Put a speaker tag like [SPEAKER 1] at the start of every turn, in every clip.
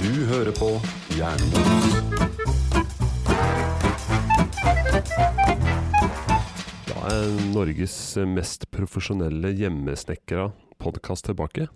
[SPEAKER 1] Du hører på Jernbanen. Da er Norges mest profesjonelle hjemmesnekra podkast tilbake.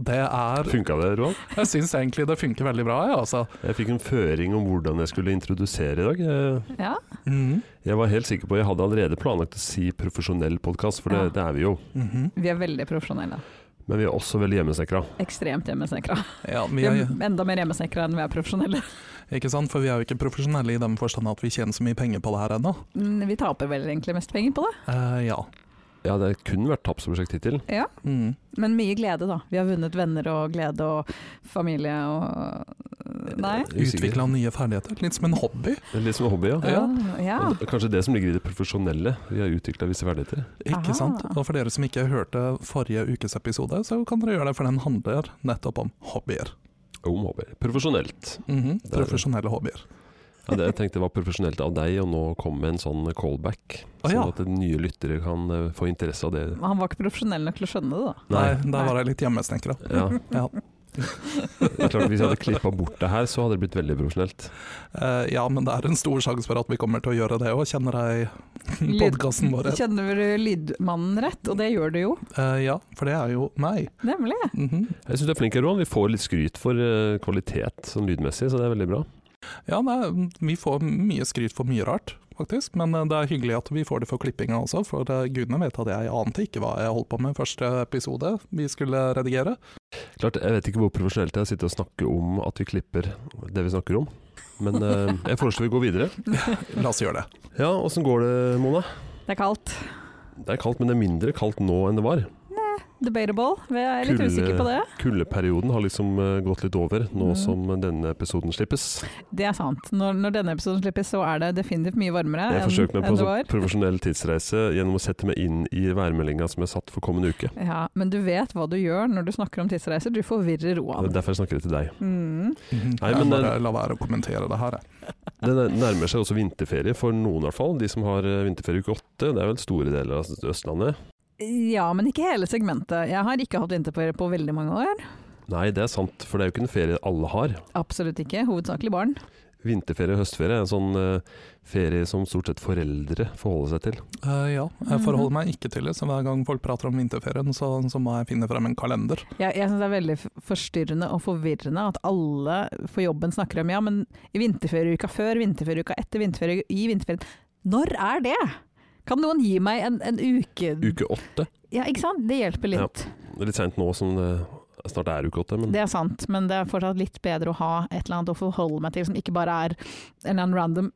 [SPEAKER 2] Det er
[SPEAKER 1] Funka det, Roald?
[SPEAKER 2] Jeg syns egentlig det funker veldig bra, jeg, altså.
[SPEAKER 1] Jeg fikk en føring om hvordan jeg skulle introdusere i dag. Jeg-
[SPEAKER 3] Ja.
[SPEAKER 2] Mhm.
[SPEAKER 1] Jeg var helt sikker på Jeg hadde allerede planlagt å si profesjonell podkast, for det,
[SPEAKER 3] Ja.
[SPEAKER 1] det er vi jo.
[SPEAKER 2] Mhm.
[SPEAKER 3] Vi er veldig profesjonelle.
[SPEAKER 1] Men vi er også veldig hjemmesnekra.
[SPEAKER 3] Ekstremt hjemmesnekra.
[SPEAKER 2] Ja,
[SPEAKER 3] Vi
[SPEAKER 2] vi
[SPEAKER 3] er
[SPEAKER 2] er,
[SPEAKER 3] enda mer hjemmesnekra enn vi er profesjonelle.
[SPEAKER 2] ikke sant? For vi er jo ikke profesjonelle i den forstand at vi tjener så mye penger på det her ennå.
[SPEAKER 3] Mm, Vi taper vel egentlig mest penger på det,
[SPEAKER 2] Eh, ja.
[SPEAKER 1] Ja, det kunne vært tapsprosjekt hittil.
[SPEAKER 2] Mhm.
[SPEAKER 3] men mye glede, da. Vi har vunnet venner og glede og familie og øh, Nei?
[SPEAKER 1] Jeg er usikker.
[SPEAKER 2] Utvikla nye ferdigheter. Litt som en hobby.
[SPEAKER 1] Det er Litt som en hobby, ja.
[SPEAKER 2] Ja.
[SPEAKER 3] ja.
[SPEAKER 1] Og det- Kanskje det som ligger i det profesjonelle. Vi har utvikla visse ferdigheter.
[SPEAKER 2] Ikke
[SPEAKER 3] Aha.
[SPEAKER 2] sant? Og for dere som ikke hørte forrige ukes episode, så kan dere gjøre det, for den handler nettopp om hobbyer.
[SPEAKER 1] Om hobby. Profesjonelt.
[SPEAKER 2] Mhm.
[SPEAKER 1] Det er det.
[SPEAKER 2] Profesjonelle hobbyer.
[SPEAKER 1] Ja, det jeg tenkte var profesjonelt av deg å nå komme med en sånn callback.
[SPEAKER 2] Å, ja.
[SPEAKER 1] Sånn at nye lyttere kan eh, få interesse av det.
[SPEAKER 3] Han var ikke profesjonell nok til å skjønne det, da.
[SPEAKER 2] Nei, der
[SPEAKER 3] Nei.
[SPEAKER 2] var jeg litt hjemmesnekra.
[SPEAKER 1] Ja.
[SPEAKER 2] Ja.
[SPEAKER 1] Det er klart, hvis jeg hadde klippa bort det her, så hadde det blitt veldig profesjonelt.
[SPEAKER 2] Eh, ja, men det er en stor sjanse for at vi kommer til å gjøre det òg, kjenner jeg
[SPEAKER 3] Lyd-
[SPEAKER 2] podkasten vår.
[SPEAKER 3] Kjenner du lydmannen rett, og det gjør du jo.
[SPEAKER 2] Eh, ja, for det er jo meg.
[SPEAKER 3] Nemlig.
[SPEAKER 2] Mhm.
[SPEAKER 1] Jeg syns du er flink, Roan. Vi får litt skryt for eh, kvalitet sånn lydmessig, så det er veldig bra.
[SPEAKER 2] Ja, nei, vi får mye skryt for mye rart, faktisk. Men eh, det er hyggelig at vi får det for klippinga også, for eh, gudene vet at jeg ante ikke hva jeg holdt på med første episode vi skulle redigere.
[SPEAKER 1] Klart, Jeg vet ikke hvor profesjonelt det er å sitte og snakke om at vi klipper det vi snakker om, men eh, jeg foreslår vi går videre.
[SPEAKER 2] La oss gjøre det.
[SPEAKER 1] Ja, åssen går det, Mona?
[SPEAKER 3] Det er kaldt.
[SPEAKER 1] Det er kaldt, men det er mindre kaldt nå enn det var.
[SPEAKER 3] Debatable. Jeg er litt
[SPEAKER 1] Kulde-
[SPEAKER 3] usikker på det.
[SPEAKER 1] Kuldeperioden har liksom eh, gått litt over, nå
[SPEAKER 3] Mm.
[SPEAKER 1] som denne episoden slippes.
[SPEAKER 3] Det er sant. Når, når denne episoden slippes, så er det definitivt mye varmere
[SPEAKER 1] Jeg
[SPEAKER 3] enn,
[SPEAKER 1] forsøkte meg på en
[SPEAKER 3] enn det
[SPEAKER 1] sånn
[SPEAKER 3] var.
[SPEAKER 1] profesjonell tidsreise gjennom å sette meg inn i værmeldinga som jeg satt for kommende uke.
[SPEAKER 3] Ja, men du vet hva du gjør når du snakker om tidsreiser. Du
[SPEAKER 1] Det
[SPEAKER 3] forvirrer
[SPEAKER 1] er
[SPEAKER 3] Roan.
[SPEAKER 1] derfor jeg snakker det til deg.
[SPEAKER 3] Mm.
[SPEAKER 1] Mhm. Nei,
[SPEAKER 2] jeg
[SPEAKER 1] men,
[SPEAKER 2] bare la være å kommentere det her, jeg.
[SPEAKER 1] Det nær- nærmer seg også vinterferie for noen, i hvert fall. De som har eh, vinterferie uke åtte. Det er vel store deler av Østlandet.
[SPEAKER 3] Ja, men ikke hele segmentet. Jeg har ikke hatt vinterferie på veldig mange år.
[SPEAKER 1] Nei, det er sant, for det er jo ikke en ferie alle har.
[SPEAKER 3] Absolutt ikke. Hovedsakelig barn.
[SPEAKER 1] Vinterferie og høstferie er en sånn eh, ferie som stort sett foreldre forholder seg til.
[SPEAKER 2] Eh, ja, jeg forholder meg ikke til det, så hver gang folk prater om vinterferien, så, så må jeg finne frem en kalender.
[SPEAKER 3] Jeg, jeg syns det er veldig f- forstyrrende og forvirrende at alle på jobben snakker om ja, men i vinterferieuka før, vinterferieuka etter, vinterferie i vinterferien. Når er det? Kan noen gi meg en, en uke?
[SPEAKER 1] Uke åtte.
[SPEAKER 3] Ja, ikke sant? Det hjelper litt.
[SPEAKER 1] Det er litt seint nå som det snart er uke åtte, men
[SPEAKER 3] Det er sant, men det er fortsatt litt bedre å ha et eller annet å forholde meg til som ikke bare er en eller annen random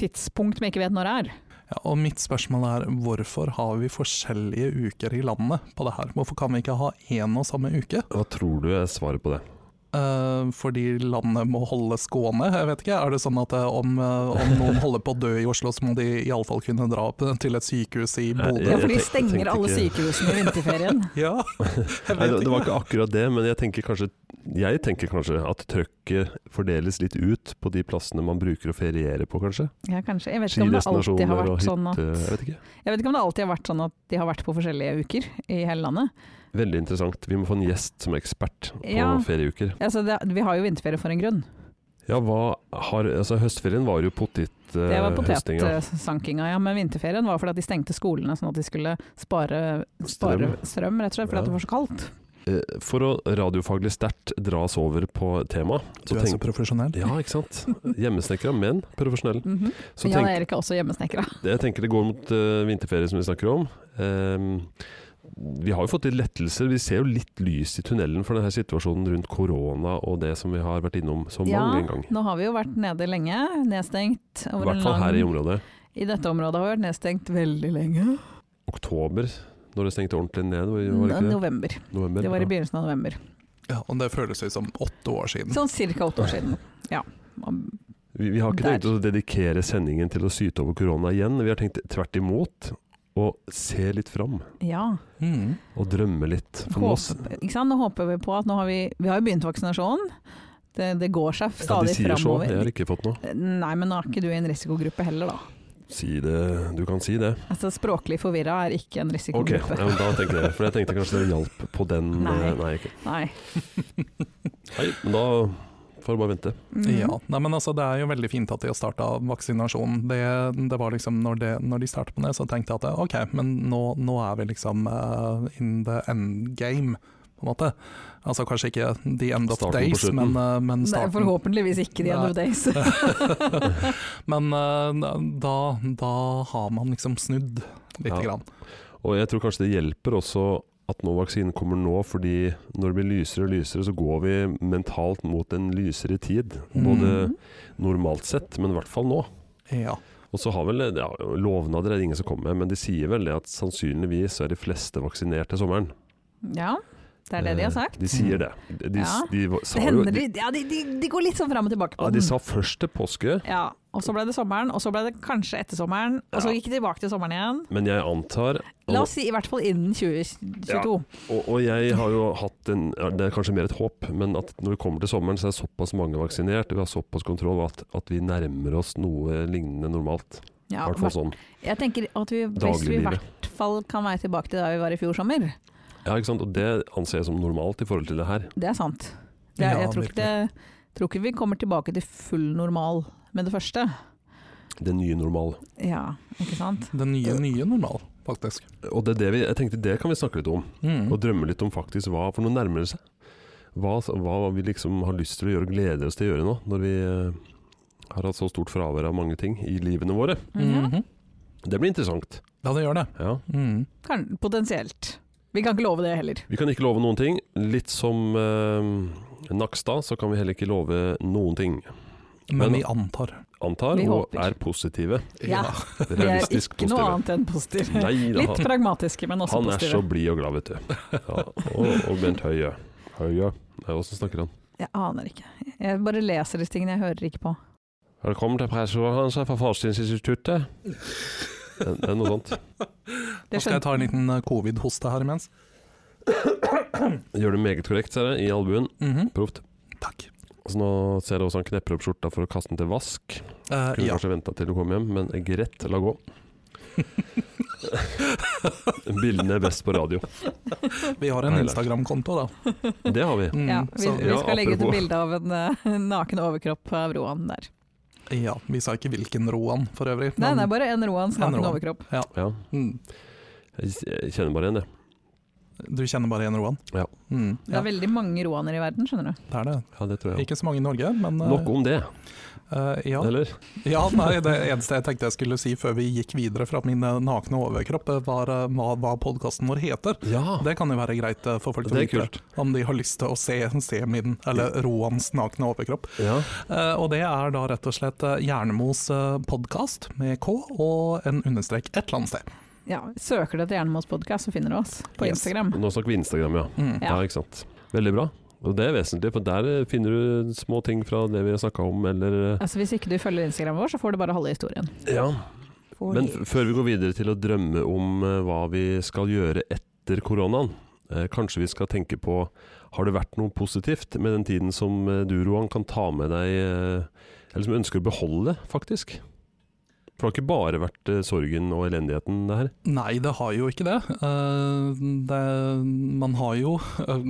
[SPEAKER 3] tidspunkt vi ikke vet når det er.
[SPEAKER 2] Ja, og mitt spørsmål er hvorfor har vi forskjellige uker i landet på det her? Hvorfor kan vi ikke ha én og samme uke?
[SPEAKER 1] hva tror du er svaret på det?
[SPEAKER 2] Eh, fordi landet må holde skåne, jeg vet ikke. Er det sånn at eh, om, eh, om noen holder på å dø i Oslo, så må de iallfall kunne dra opp til et sykehus i
[SPEAKER 1] Ja,
[SPEAKER 3] Ja,
[SPEAKER 1] for
[SPEAKER 2] Bodø?
[SPEAKER 1] de
[SPEAKER 3] for
[SPEAKER 1] Jeg
[SPEAKER 3] de
[SPEAKER 1] tenkte- stenger
[SPEAKER 3] stenger
[SPEAKER 1] tenkte alle
[SPEAKER 3] alle
[SPEAKER 1] ikke-
[SPEAKER 3] sykehusene i vinterferien.
[SPEAKER 2] Ja, jeg
[SPEAKER 1] Nei,
[SPEAKER 2] vet
[SPEAKER 1] det, det var
[SPEAKER 2] ikke.
[SPEAKER 1] ikke akkurat det, men jeg tenker kanskje Jeg tenker kanskje at trøkket fordeles litt ut på de plassene man bruker å feriere på, kanskje.
[SPEAKER 3] Ja, kanskje. Jeg vet ikke om det alltid har
[SPEAKER 1] Skidestinasjoner og
[SPEAKER 3] vært
[SPEAKER 1] hytte
[SPEAKER 3] sånn at
[SPEAKER 1] Jeg vet ikke.
[SPEAKER 3] Jeg vet ikke om det alltid har vært sånn at de har vært på forskjellige uker i hele landet.
[SPEAKER 1] Veldig interessant. Vi må få en gjest som er ekspert på
[SPEAKER 3] Ja.
[SPEAKER 1] ferieuker.
[SPEAKER 3] Altså, det, vi har jo vinterferie for en grunn.
[SPEAKER 1] Ja, hva har Altså, høstferien var jo eh,
[SPEAKER 3] Det var eh.
[SPEAKER 1] potethøstinga.
[SPEAKER 3] potetsankinga, ja. Men vinterferien var fordi at de stengte skolene sånn at de skulle spare, spare
[SPEAKER 1] Strøm.
[SPEAKER 3] strøm, rett og slett, fordi
[SPEAKER 1] Ja.
[SPEAKER 3] at det var så kaldt.
[SPEAKER 1] Eh, For å radiofaglig sterkt dra oss over på temaet
[SPEAKER 2] Du er så profesjonell.
[SPEAKER 1] Ja, ikke sant. Hjemmesnekra, men profesjonell.
[SPEAKER 3] Mhm.
[SPEAKER 1] Så
[SPEAKER 3] Jan
[SPEAKER 1] tenk,
[SPEAKER 3] Erik er også hjemmesnekra.
[SPEAKER 1] jeg tenker det går mot eh, vinterferie, som vi snakker om. Ehm, vi har jo fått litt lettelser. Vi ser jo litt lys i tunnelen for denne situasjonen rundt korona og det som vi har vært innom så mange
[SPEAKER 3] Ja,
[SPEAKER 1] ganger.
[SPEAKER 3] nå har vi jo vært nede lenge, nedstengt
[SPEAKER 1] I
[SPEAKER 3] over en
[SPEAKER 1] hvert fall
[SPEAKER 3] lang
[SPEAKER 1] her i området.
[SPEAKER 3] I dette området har vi vært nedstengt veldig lenge.
[SPEAKER 1] Oktober, når det stengte ordentlig ned. Var var det
[SPEAKER 3] N-
[SPEAKER 1] ikke det?
[SPEAKER 3] November.
[SPEAKER 1] November.
[SPEAKER 3] Det var i
[SPEAKER 1] ja.
[SPEAKER 3] begynnelsen av november.
[SPEAKER 2] Ja, og det føles jo som åtte år siden.
[SPEAKER 3] Sånn ca. åtte år siden. Ja. Om-
[SPEAKER 1] Vi, vi har ikke
[SPEAKER 3] Der.
[SPEAKER 1] tenkt å dedikere sendingen til å syte over korona igjen. Vi har tenkt tvert imot å se litt fram
[SPEAKER 3] ja.
[SPEAKER 2] Mm.
[SPEAKER 1] og drømme litt. For nå, s-
[SPEAKER 3] Håper, ikke sant? Nå håper vi på at nå har vi Vi har jo begynt vaksinasjonen. Det, det går seg
[SPEAKER 1] ja, de
[SPEAKER 3] stadig
[SPEAKER 1] sier så, jeg
[SPEAKER 3] framover.
[SPEAKER 1] har ikke fått noe.
[SPEAKER 3] Nei, men nå er ikke du i en risikogruppe heller, da.
[SPEAKER 1] Si det. Du kan si det.
[SPEAKER 3] Altså, språklig forvirra er ikke en
[SPEAKER 1] Ok, ja,
[SPEAKER 3] risikogruppe.
[SPEAKER 1] men da tenker jeg det. For jeg tenkte kanskje det hjalp på den
[SPEAKER 3] Nei.
[SPEAKER 1] eh, Nei, ok.
[SPEAKER 3] Nei.
[SPEAKER 1] Nei men da får du bare vente.
[SPEAKER 3] Mm.
[SPEAKER 2] Ja, nei, men altså, Det er jo veldig fint at de har starta vaksinasjon. Det, det var liksom, når, det, når de startet på det, så tenkte jeg at eh, ok, men nå, nå er vi liksom eh, in the end game. På en måte. Altså kanskje ikke the end of
[SPEAKER 1] Starten på
[SPEAKER 2] days,
[SPEAKER 1] slutten.
[SPEAKER 2] men, eh, men
[SPEAKER 3] Nei,
[SPEAKER 2] starten.
[SPEAKER 3] forhåpentligvis ikke the end of days.
[SPEAKER 2] Men eh, da, da har man liksom snudd lite
[SPEAKER 1] Ja.
[SPEAKER 2] grann.
[SPEAKER 1] Og jeg tror kanskje det hjelper også at nå vaksinen kommer nå, fordi når det blir lysere og lysere, så går vi mentalt mot en lysere tid. Både
[SPEAKER 3] Mm.
[SPEAKER 2] Mhm.
[SPEAKER 1] normalt sett, men i hvert fall nå.
[SPEAKER 2] Ja.
[SPEAKER 1] Og så har vel, ja, Lovnader er det ingen som kommer med, men de sier vel det at sannsynligvis er de fleste vaksinert til sommeren.
[SPEAKER 3] Ja, det er det de har sagt.
[SPEAKER 1] De sier det. De, de,
[SPEAKER 3] Ja.
[SPEAKER 1] de, sa
[SPEAKER 3] Det
[SPEAKER 1] jo,
[SPEAKER 3] hender
[SPEAKER 1] de,
[SPEAKER 3] de, ja, de, de, de går litt sånn fram og tilbake på
[SPEAKER 1] ja, de sa først til påske,
[SPEAKER 3] Ja, og så ble det sommeren, og så ble det kanskje etter sommeren, og så
[SPEAKER 1] Ja.
[SPEAKER 3] gikk det tilbake til sommeren igjen.
[SPEAKER 1] men jeg antar
[SPEAKER 3] La oss si i hvert fall innen 2022.
[SPEAKER 1] Og, og jeg har jo hatt en ja, Det er kanskje mer et håp, men at når vi kommer til sommeren, så er såpass mange vaksinert, vi har såpass kontroll at, at vi nærmer oss noe lignende normalt. I
[SPEAKER 3] Ja,
[SPEAKER 1] hvert fall sånn.
[SPEAKER 3] jeg tenker at vi, hvis vi i
[SPEAKER 1] Dagliglivet.
[SPEAKER 3] hvert fall kan være tilbake til der vi var i fjor sommer,
[SPEAKER 1] Ja, ikke sant? Og det anser jeg som normalt i forhold til det her.
[SPEAKER 3] det er sant. Det, er-
[SPEAKER 2] Ja,
[SPEAKER 3] jeg tror ikke, det, tror ikke vi kommer tilbake til full normal med det første.
[SPEAKER 1] Det nye normal.
[SPEAKER 3] Ja, ikke sant?
[SPEAKER 2] Den nye, nye normal, faktisk.
[SPEAKER 1] Og det er det vi, jeg tenkte det kan vi snakke litt om,
[SPEAKER 2] Mm.
[SPEAKER 1] og drømme litt om faktisk hva For nå nærmer det seg. Hva, hva vi liksom har lyst til å gjøre og gleder oss til å gjøre nå, når vi eh, har hatt så stort fravær av mange ting i livene våre.
[SPEAKER 3] Ja,
[SPEAKER 2] Mhm.
[SPEAKER 1] Det blir interessant.
[SPEAKER 2] Ja, det gjør det.
[SPEAKER 1] Ja.
[SPEAKER 2] Mm.
[SPEAKER 3] kan, potensielt. Vi kan ikke love det heller.
[SPEAKER 1] Vi kan ikke love noen ting. Litt som eh, Nakstad, så kan vi heller ikke love noen ting. Men-
[SPEAKER 2] Men vi antar.
[SPEAKER 1] Antar
[SPEAKER 3] Vi
[SPEAKER 1] og
[SPEAKER 3] håper.
[SPEAKER 1] er positive.
[SPEAKER 3] Ja. Vi er
[SPEAKER 1] Realistisk
[SPEAKER 3] ikke noe
[SPEAKER 1] positive.
[SPEAKER 3] annet enn positive.
[SPEAKER 1] Nei da,
[SPEAKER 3] Litt
[SPEAKER 1] han,
[SPEAKER 3] pragmatiske, men også
[SPEAKER 1] han er så
[SPEAKER 3] positive.
[SPEAKER 1] blid og glad, vet du. Ja, og, og Bent Høie. Høie. Nei, Åssen snakker han?
[SPEAKER 3] Jeg aner ikke. Jeg bare leser disse tingene, jeg hører ikke på.
[SPEAKER 1] Velkommen til pressekonferanse fra Forskningsinstituttet. Det det er noe sånt.
[SPEAKER 3] Det
[SPEAKER 2] Nå skal jeg ta en liten eh, covid-hoste her imens.
[SPEAKER 1] Gjør det meget korrekt, ser jeg, i albuen.
[SPEAKER 2] Mhm.
[SPEAKER 1] Proft.
[SPEAKER 2] Takk.
[SPEAKER 1] Altså, nå ser jeg også han knepper opp skjorta for å kaste den til vask.
[SPEAKER 2] Eh,
[SPEAKER 1] Kunne
[SPEAKER 2] ja.
[SPEAKER 1] kanskje venta til du kom hjem, men greit, la gå. Bildene er best på radio.
[SPEAKER 2] Vi har en
[SPEAKER 1] Nei, Lars.
[SPEAKER 2] Instagram-konto, da.
[SPEAKER 1] Det har vi.
[SPEAKER 2] Mm,
[SPEAKER 3] Ja, vi,
[SPEAKER 2] så,
[SPEAKER 3] vi
[SPEAKER 1] Ja,
[SPEAKER 3] skal legge ut et
[SPEAKER 1] apropos.
[SPEAKER 3] bilde av en eh, naken overkropp på Roan der.
[SPEAKER 2] ja, vi sa ikke hvilken Roan, for øvrig.
[SPEAKER 3] Nei,
[SPEAKER 2] men-
[SPEAKER 3] det er bare en Roans
[SPEAKER 2] En
[SPEAKER 3] naken
[SPEAKER 2] Roan.
[SPEAKER 3] overkropp.
[SPEAKER 1] Ja,
[SPEAKER 2] Mm,
[SPEAKER 1] jeg jeg kjenner bare igjen det.
[SPEAKER 2] du kjenner bare én Roan?
[SPEAKER 1] Ja.
[SPEAKER 2] Mm,
[SPEAKER 3] Det
[SPEAKER 2] ja.
[SPEAKER 3] er veldig mange Roaner i verden, skjønner du.
[SPEAKER 2] Det er det.
[SPEAKER 1] Ja, det tror jeg.
[SPEAKER 2] Ikke så mange i Norge, men eh,
[SPEAKER 1] Nok om det,
[SPEAKER 2] eh, ja.
[SPEAKER 1] eller?
[SPEAKER 2] ja, nei, Det eneste jeg tenkte jeg skulle si før vi gikk videre fra min eh, nakne overkropp, eh, var eh, hva, hva podkasten vår heter.
[SPEAKER 1] Ja,
[SPEAKER 2] Det kan jo være greit eh, for folk å
[SPEAKER 1] det er
[SPEAKER 2] vite,
[SPEAKER 1] kult.
[SPEAKER 2] om de har lyst til å se, se min, eller Roans nakne overkropp.
[SPEAKER 1] Ja.
[SPEAKER 2] Eh, Og det er da rett og slett eh, Jernemos podkast med K og en understrek et eller annet sted.
[SPEAKER 3] Ja, Søker du etter Jernemos podkast, så finner du oss på
[SPEAKER 2] Yes.
[SPEAKER 3] Instagram.
[SPEAKER 1] Nå snakker vi Instagram, ja.
[SPEAKER 2] Mm.
[SPEAKER 1] Ja, ikke sant. Veldig bra. Og det er vesentlig, for der eh, finner du små ting fra det vi har snakka om, eller eh,
[SPEAKER 3] Altså, Hvis ikke du følger Instagram vår, så får du bare halve historien.
[SPEAKER 1] Ja. Men f- før vi går videre til å drømme om eh, hva vi skal gjøre etter koronaen, eh, kanskje vi skal tenke på har det vært noe positivt med den tiden som eh, du, Roan, kan ta med deg, eh, eller som du ønsker å beholde, faktisk? For det har ikke bare vært eh, sorgen og elendigheten, det her.
[SPEAKER 2] Nei, det har jo ikke det. Eh, det man har jo eh,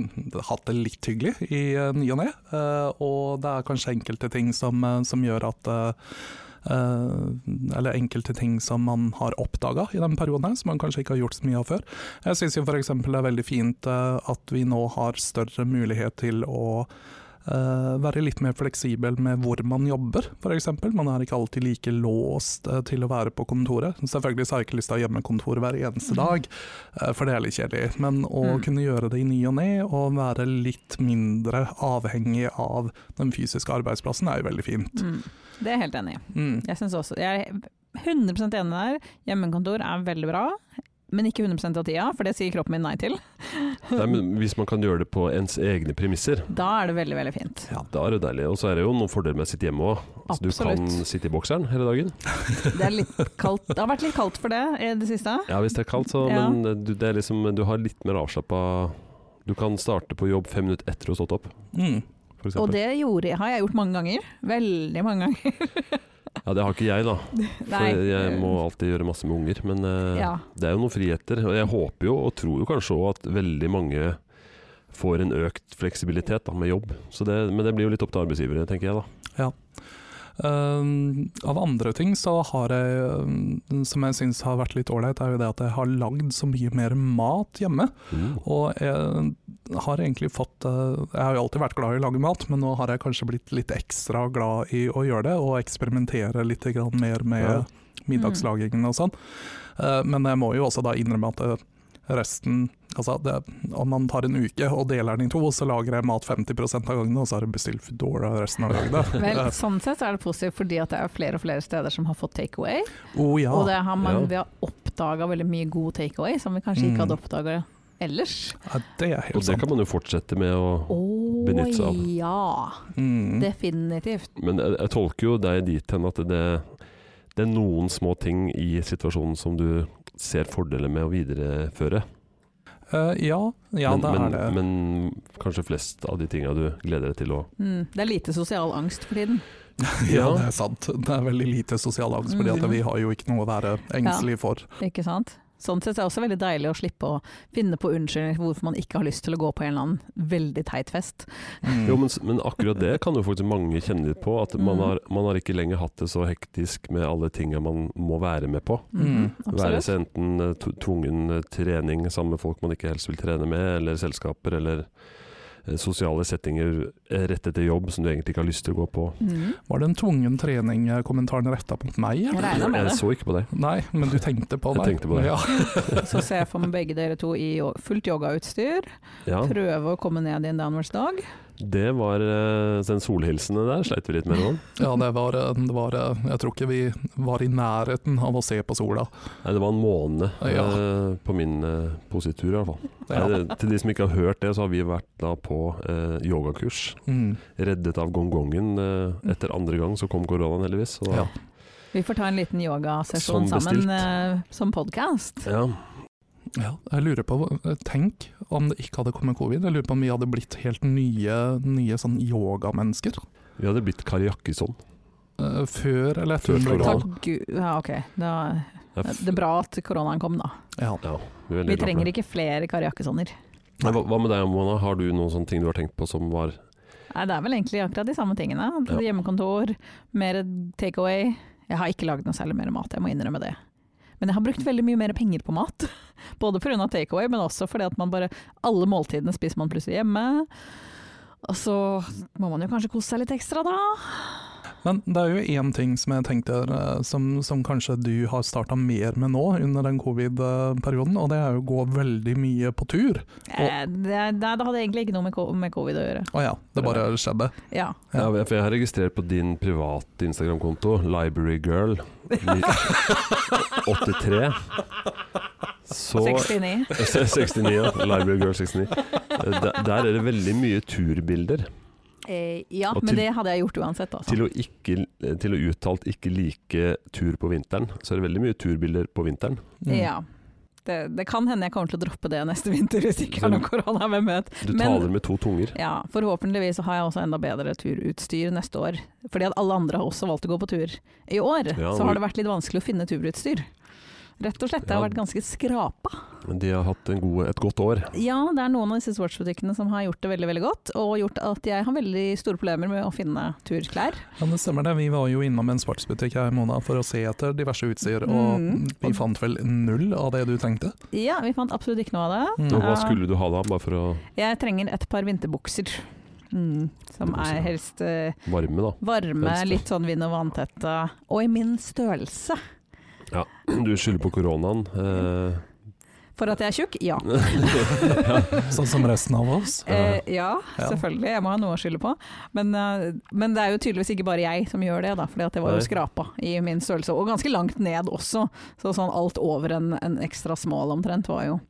[SPEAKER 2] hatt det litt hyggelig i eh, ny og ne, eh, og det er kanskje enkelte ting som, eh, som gjør at eh, eh, eller enkelte ting som man har oppdaga i den perioden, her, som man kanskje ikke har gjort så mye av før. Jeg syns f.eks. det er veldig fint eh, at vi nå har større mulighet til å eh, være litt mer fleksibel med hvor man jobber, f.eks. Man er ikke alltid like låst eh, til å være på kontoret. Selvfølgelig så har jeg ikke lyst til å ha hjemmekontor hver eneste dag, eh, for det er litt kjedelig. Men å
[SPEAKER 3] Mm.
[SPEAKER 2] kunne gjøre det i ny og ne, og være litt mindre avhengig av den fysiske arbeidsplassen, er jo veldig fint.
[SPEAKER 3] Mm. Det er jeg helt enig i.
[SPEAKER 2] Mm.
[SPEAKER 3] Jeg synes også, jeg er 100 enig der. Hjemmekontor er veldig bra, men ikke 100 av tida, for det sier kroppen min nei til.
[SPEAKER 1] Nei, men hvis man kan gjøre det på ens egne premisser,
[SPEAKER 3] Da er det veldig, veldig fint.
[SPEAKER 1] da er det deilig. Og så er det jo noen fordeler med å sitte hjemme òg. Så du kan
[SPEAKER 3] Absolutt.
[SPEAKER 1] sitte i bokseren hele dagen.
[SPEAKER 3] Det, er litt kaldt. det har vært litt kaldt for det i det siste.
[SPEAKER 1] Ja, hvis det er kaldt, så.
[SPEAKER 3] Ja.
[SPEAKER 1] Men eh, du, det er liksom, du har litt mer avslappa Du kan starte på jobb fem minutter etter å ha stått opp,
[SPEAKER 2] Mm.
[SPEAKER 1] for eksempel.
[SPEAKER 3] Og det gjorde, har jeg gjort mange ganger. Veldig mange ganger.
[SPEAKER 1] Ja, det har ikke jeg, da. For jeg må alltid gjøre masse med unger. Men eh,
[SPEAKER 3] Ja.
[SPEAKER 1] det er jo noen friheter. Og jeg håper jo, og tror jo kanskje òg, at veldig mange får en økt fleksibilitet da, med jobb. Så det, men det blir jo litt opp til arbeidsgivere, tenker jeg da.
[SPEAKER 2] Um, av andre ting så har jeg, um, som jeg syns har vært litt ålreit, er jo det at jeg har lagd så mye mer mat hjemme.
[SPEAKER 1] Mm.
[SPEAKER 2] Og jeg har egentlig fått eh, Jeg har jo alltid vært glad i å lage mat, men nå har jeg kanskje blitt litt ekstra glad i å gjøre det, og eksperimentere litt grann mer med
[SPEAKER 1] Ja.
[SPEAKER 2] middagslagingen og sånn. Eh, Men jeg må jo også da innrømme at eh, resten Altså, det, om man tar en uke og deler den i to, så lager jeg mat 50 av gangen, og så har jeg bestilt Foodora resten av dagen.
[SPEAKER 3] Vel,
[SPEAKER 2] Eh,
[SPEAKER 3] sånn sett så er det positivt, fordi at det er flere og flere steder som har fått takeaway.
[SPEAKER 2] oh, ja.
[SPEAKER 3] Og det har man,
[SPEAKER 1] Ja.
[SPEAKER 3] vi har oppdaga veldig mye god takeaway, som vi kanskje ikke
[SPEAKER 2] Mm.
[SPEAKER 3] hadde oppdaga ellers.
[SPEAKER 2] Ja, det er
[SPEAKER 1] Og
[SPEAKER 2] helt
[SPEAKER 1] det
[SPEAKER 2] sant.
[SPEAKER 1] kan man jo fortsette med å
[SPEAKER 3] Å
[SPEAKER 1] Benytte seg av.
[SPEAKER 3] ja,
[SPEAKER 2] Mm.
[SPEAKER 3] definitivt.
[SPEAKER 1] Men jeg, jeg tolker jo deg dit hen at det, det er noen små ting i situasjonen som du ser fordeler med å videreføre.
[SPEAKER 2] Eh, ja, ja,
[SPEAKER 1] men,
[SPEAKER 2] det
[SPEAKER 1] men,
[SPEAKER 2] er det.
[SPEAKER 1] men kanskje flest av de tinga du gleder deg til å
[SPEAKER 3] Mm. Det er lite sosial angst for tiden.
[SPEAKER 2] Ja, Mm.
[SPEAKER 1] Ja.
[SPEAKER 2] det er sant. Det er veldig lite sosial angst, fordi at
[SPEAKER 3] Mhm.
[SPEAKER 2] vi har jo ikke noe å være engstelig for.
[SPEAKER 3] Ikke sant? Sånn sett er det også veldig deilig å slippe å finne på unnskyldninger for hvorfor man ikke har lyst til å gå på en eller annen veldig teit fest.
[SPEAKER 2] Mm.
[SPEAKER 1] Jo, men, s- men akkurat det kan jo faktisk mange kjenne litt på. At man
[SPEAKER 3] Mm.
[SPEAKER 1] har, man har ikke lenger hatt det så hektisk med alle tinga man må være med på.
[SPEAKER 3] Mhm,
[SPEAKER 2] Mm.
[SPEAKER 1] Være
[SPEAKER 3] absolutt.
[SPEAKER 1] seg enten eh, tv- tvungen eh, trening sammen med folk man ikke helst vil trene med, eller selskaper, eller eh, sosiale settinger eh, rett etter jobb som du egentlig ikke har lyst til å gå på.
[SPEAKER 3] Mhm.
[SPEAKER 2] Var det en tvungen trening-kommentaren retta mot meg?
[SPEAKER 3] Jeg
[SPEAKER 2] eller?
[SPEAKER 3] regner med
[SPEAKER 1] Jeg
[SPEAKER 3] det.
[SPEAKER 1] så ikke på deg.
[SPEAKER 2] Nei, men du tenkte på
[SPEAKER 1] Jeg
[SPEAKER 2] meg.
[SPEAKER 1] tenkte på det.
[SPEAKER 2] Ja.
[SPEAKER 3] Så ser jeg for meg begge dere to i jo- fullt yogautstyr,
[SPEAKER 1] Ja,
[SPEAKER 3] prøve å komme ned i en downwards dog.
[SPEAKER 1] det var eh, den solhilsenen der sleit vi litt med. Roland.
[SPEAKER 2] ja, det var, eh, det var Jeg tror ikke vi var i nærheten av å se på sola.
[SPEAKER 1] Nei, det var en måned eh,
[SPEAKER 2] Ja.
[SPEAKER 1] på min eh, positur i hvert fall.
[SPEAKER 2] Ja.
[SPEAKER 1] Nei, det, til de som ikke har hørt det, så har vi vært da på eh, yogakurs.
[SPEAKER 2] Mm.
[SPEAKER 1] Reddet av gongongen. Eh, etter andre gang så kom koronaen heldigvis. Så da,
[SPEAKER 2] Ja.
[SPEAKER 1] ja.
[SPEAKER 3] Vi får ta en liten yogasesjon
[SPEAKER 1] Som bestilt.
[SPEAKER 3] sammen eh, som podkast.
[SPEAKER 2] Ja, jeg lurer på, eh, Tenk om det ikke hadde kommet covid. Jeg lurer på om vi hadde blitt helt nye, nye sånn yogamennesker.
[SPEAKER 1] Vi hadde blitt Kari Jakkesson.
[SPEAKER 2] Eh, Før eller
[SPEAKER 1] Før
[SPEAKER 2] etter hun ble
[SPEAKER 1] korona.
[SPEAKER 2] klar.
[SPEAKER 3] Takk gud Ja, ok. Da,
[SPEAKER 1] Ja, f-
[SPEAKER 3] det er bra at koronaen kom, da.
[SPEAKER 2] Ja.
[SPEAKER 1] Ja, vi er veldig
[SPEAKER 3] Vi
[SPEAKER 1] glad for
[SPEAKER 3] trenger
[SPEAKER 1] det.
[SPEAKER 3] ikke flere Kari Jakkessoner.
[SPEAKER 1] Men Hva, hva med deg, Mona? Har du noen sånne ting du har tenkt på som var
[SPEAKER 3] Nei, det er vel egentlig akkurat de samme tingene.
[SPEAKER 1] Ja.
[SPEAKER 3] Hjemmekontor, mer takeaway. Jeg har ikke lagd noe særlig mer mat, jeg må innrømme det. Men jeg har brukt veldig mye mer penger på mat. Både pga. takeaway, men også fordi at man bare Alle måltidene spiser man plutselig hjemme. Og så må man jo kanskje kose seg litt ekstra, da.
[SPEAKER 2] Men det er jo én ting som jeg tenkte eh, som, som kanskje du har starta mer med nå under den covid-perioden, og det er jo å gå veldig mye på tur.
[SPEAKER 3] Eh, det, nei, det hadde egentlig ikke noe med, ko- med covid å gjøre.
[SPEAKER 2] Å ja, det bare skjedde.
[SPEAKER 3] Ja.
[SPEAKER 1] ja. for Jeg har registrert på din private Instagram-konto, librarygirl83. Så
[SPEAKER 3] 69.
[SPEAKER 1] 69, ja. Librarygirl 69. Eh, Der, der er det veldig mye turbilder.
[SPEAKER 3] Eh, ja,
[SPEAKER 1] Og
[SPEAKER 3] men
[SPEAKER 1] til-
[SPEAKER 3] det hadde jeg gjort uansett, altså.
[SPEAKER 1] Til å, ikke, til å uttalt ikke like tur på vinteren, så er det veldig mye turbilder på vinteren.
[SPEAKER 2] Mm.
[SPEAKER 3] Ja. Det, det kan hende jeg kommer til å droppe det neste vinter hvis ikke jeg har noe korona, hvem vet.
[SPEAKER 1] Sånn. Du
[SPEAKER 3] Men-
[SPEAKER 1] taler med to tunger.
[SPEAKER 3] Ja, forhåpentligvis så har jeg også enda bedre turutstyr neste år. Fordi at alle andre har også valgt å gå på tur. I år
[SPEAKER 1] Ja,
[SPEAKER 3] så
[SPEAKER 1] hvor-
[SPEAKER 3] har det vært litt vanskelig å finne turutstyr. Rett og slett. Det har
[SPEAKER 1] Ja.
[SPEAKER 3] vært ganske skrapa.
[SPEAKER 1] Men de har hatt en god, et godt år.
[SPEAKER 3] Ja, det er noen av disse sportsbutikkene som har gjort det veldig veldig godt, og gjort at jeg har veldig store problemer med å finne turklær.
[SPEAKER 2] Ja, det stemmer det. Vi var jo innom en svartsbutikk her, Mona, for å se etter diverse utstyr, og
[SPEAKER 3] Mm.
[SPEAKER 2] vi fant vel null av det du trengte.
[SPEAKER 3] Ja, vi fant absolutt ikke noe av det.
[SPEAKER 2] Mm.
[SPEAKER 1] Og
[SPEAKER 3] Ja.
[SPEAKER 1] hva skulle du ha da, bare for å
[SPEAKER 3] Jeg trenger et par vinterbukser. Mm, som
[SPEAKER 1] Vinterbukser,
[SPEAKER 3] er
[SPEAKER 1] ja.
[SPEAKER 3] helst eh,
[SPEAKER 1] varme, da?
[SPEAKER 3] varme,
[SPEAKER 1] Helst, ja.
[SPEAKER 3] litt sånn vind- og vanntette, og i min størrelse.
[SPEAKER 1] Du skylder på koronaen. Eh,
[SPEAKER 3] For at jeg er tjukk? Ja.
[SPEAKER 2] Sånn som resten av oss.
[SPEAKER 3] Eh, ja,
[SPEAKER 2] Ja.
[SPEAKER 3] selvfølgelig. Jeg må ha noe å skylde på. Men, eh, men det er jo tydeligvis ikke bare jeg som gjør det, da, for det var
[SPEAKER 1] Nei.
[SPEAKER 3] jo skrapa i min størrelse. Og ganske langt ned også, så sånn alt over en, en ekstra smal omtrent var jo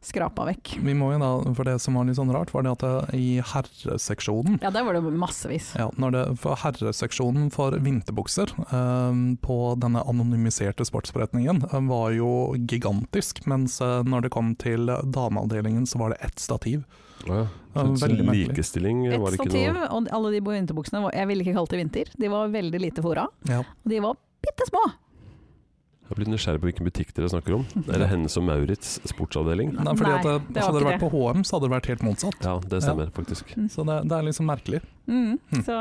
[SPEAKER 3] skrapa vekk.
[SPEAKER 2] Vi må jo da, for det som var litt sånn rart, var det at eh, i herreseksjonen
[SPEAKER 3] Ja, der var det massevis.
[SPEAKER 2] Ja, når det, for Herreseksjonen for vinterbukser eh, på denne anonymiserte sportsforretningen eh, var jo gigantisk, mens eh, når det kom til dameavdelingen, så var det ett stativ.
[SPEAKER 1] Ja,
[SPEAKER 2] Ja,
[SPEAKER 1] så
[SPEAKER 2] veldig merkelig.
[SPEAKER 1] likestilling
[SPEAKER 3] Et
[SPEAKER 1] var det ikke
[SPEAKER 3] stativ
[SPEAKER 1] noe
[SPEAKER 3] og alle de vinterbuksene var, Jeg ville ikke kalt det vinter. De var veldig lite fora.
[SPEAKER 2] Ja.
[SPEAKER 3] Og de var bitte små.
[SPEAKER 1] Jeg blir nysgjerrig på hvilken butikk dere snakker om. Er det Hennes og Maurits sportsavdeling?
[SPEAKER 2] Nei, fordi
[SPEAKER 3] Nei,
[SPEAKER 2] at, eh,
[SPEAKER 3] det var
[SPEAKER 2] hadde det
[SPEAKER 3] ikke
[SPEAKER 2] vært på HM, så hadde det vært helt motsatt.
[SPEAKER 1] Ja, det stemmer faktisk.
[SPEAKER 2] Så det, det er liksom merkelig.
[SPEAKER 3] Mm.
[SPEAKER 1] Hm.
[SPEAKER 2] Hmm.
[SPEAKER 3] Så,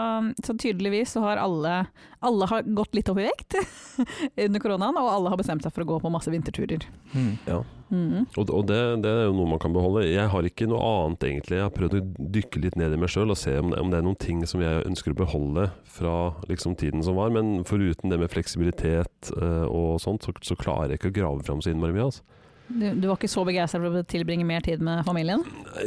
[SPEAKER 3] så tydeligvis så har alle Alle har gått litt opp i vekt under koronaen, og alle har bestemt seg for å gå på masse vinterturer.
[SPEAKER 2] Mm.
[SPEAKER 3] Mm.
[SPEAKER 1] Og, og det, det er jo noe man kan beholde. Jeg har ikke noe annet egentlig. Jeg har prøvd å dykke litt ned i meg sjøl og se om det, om det er noen ting som jeg ønsker å beholde fra liksom, tiden som var. Men foruten det med fleksibilitet eh, og sånt, så, så klarer jeg ikke å grave fram så innmari mye. Altså.
[SPEAKER 3] Du, du var ikke så begeistra for å tilbringe mer tid med familien?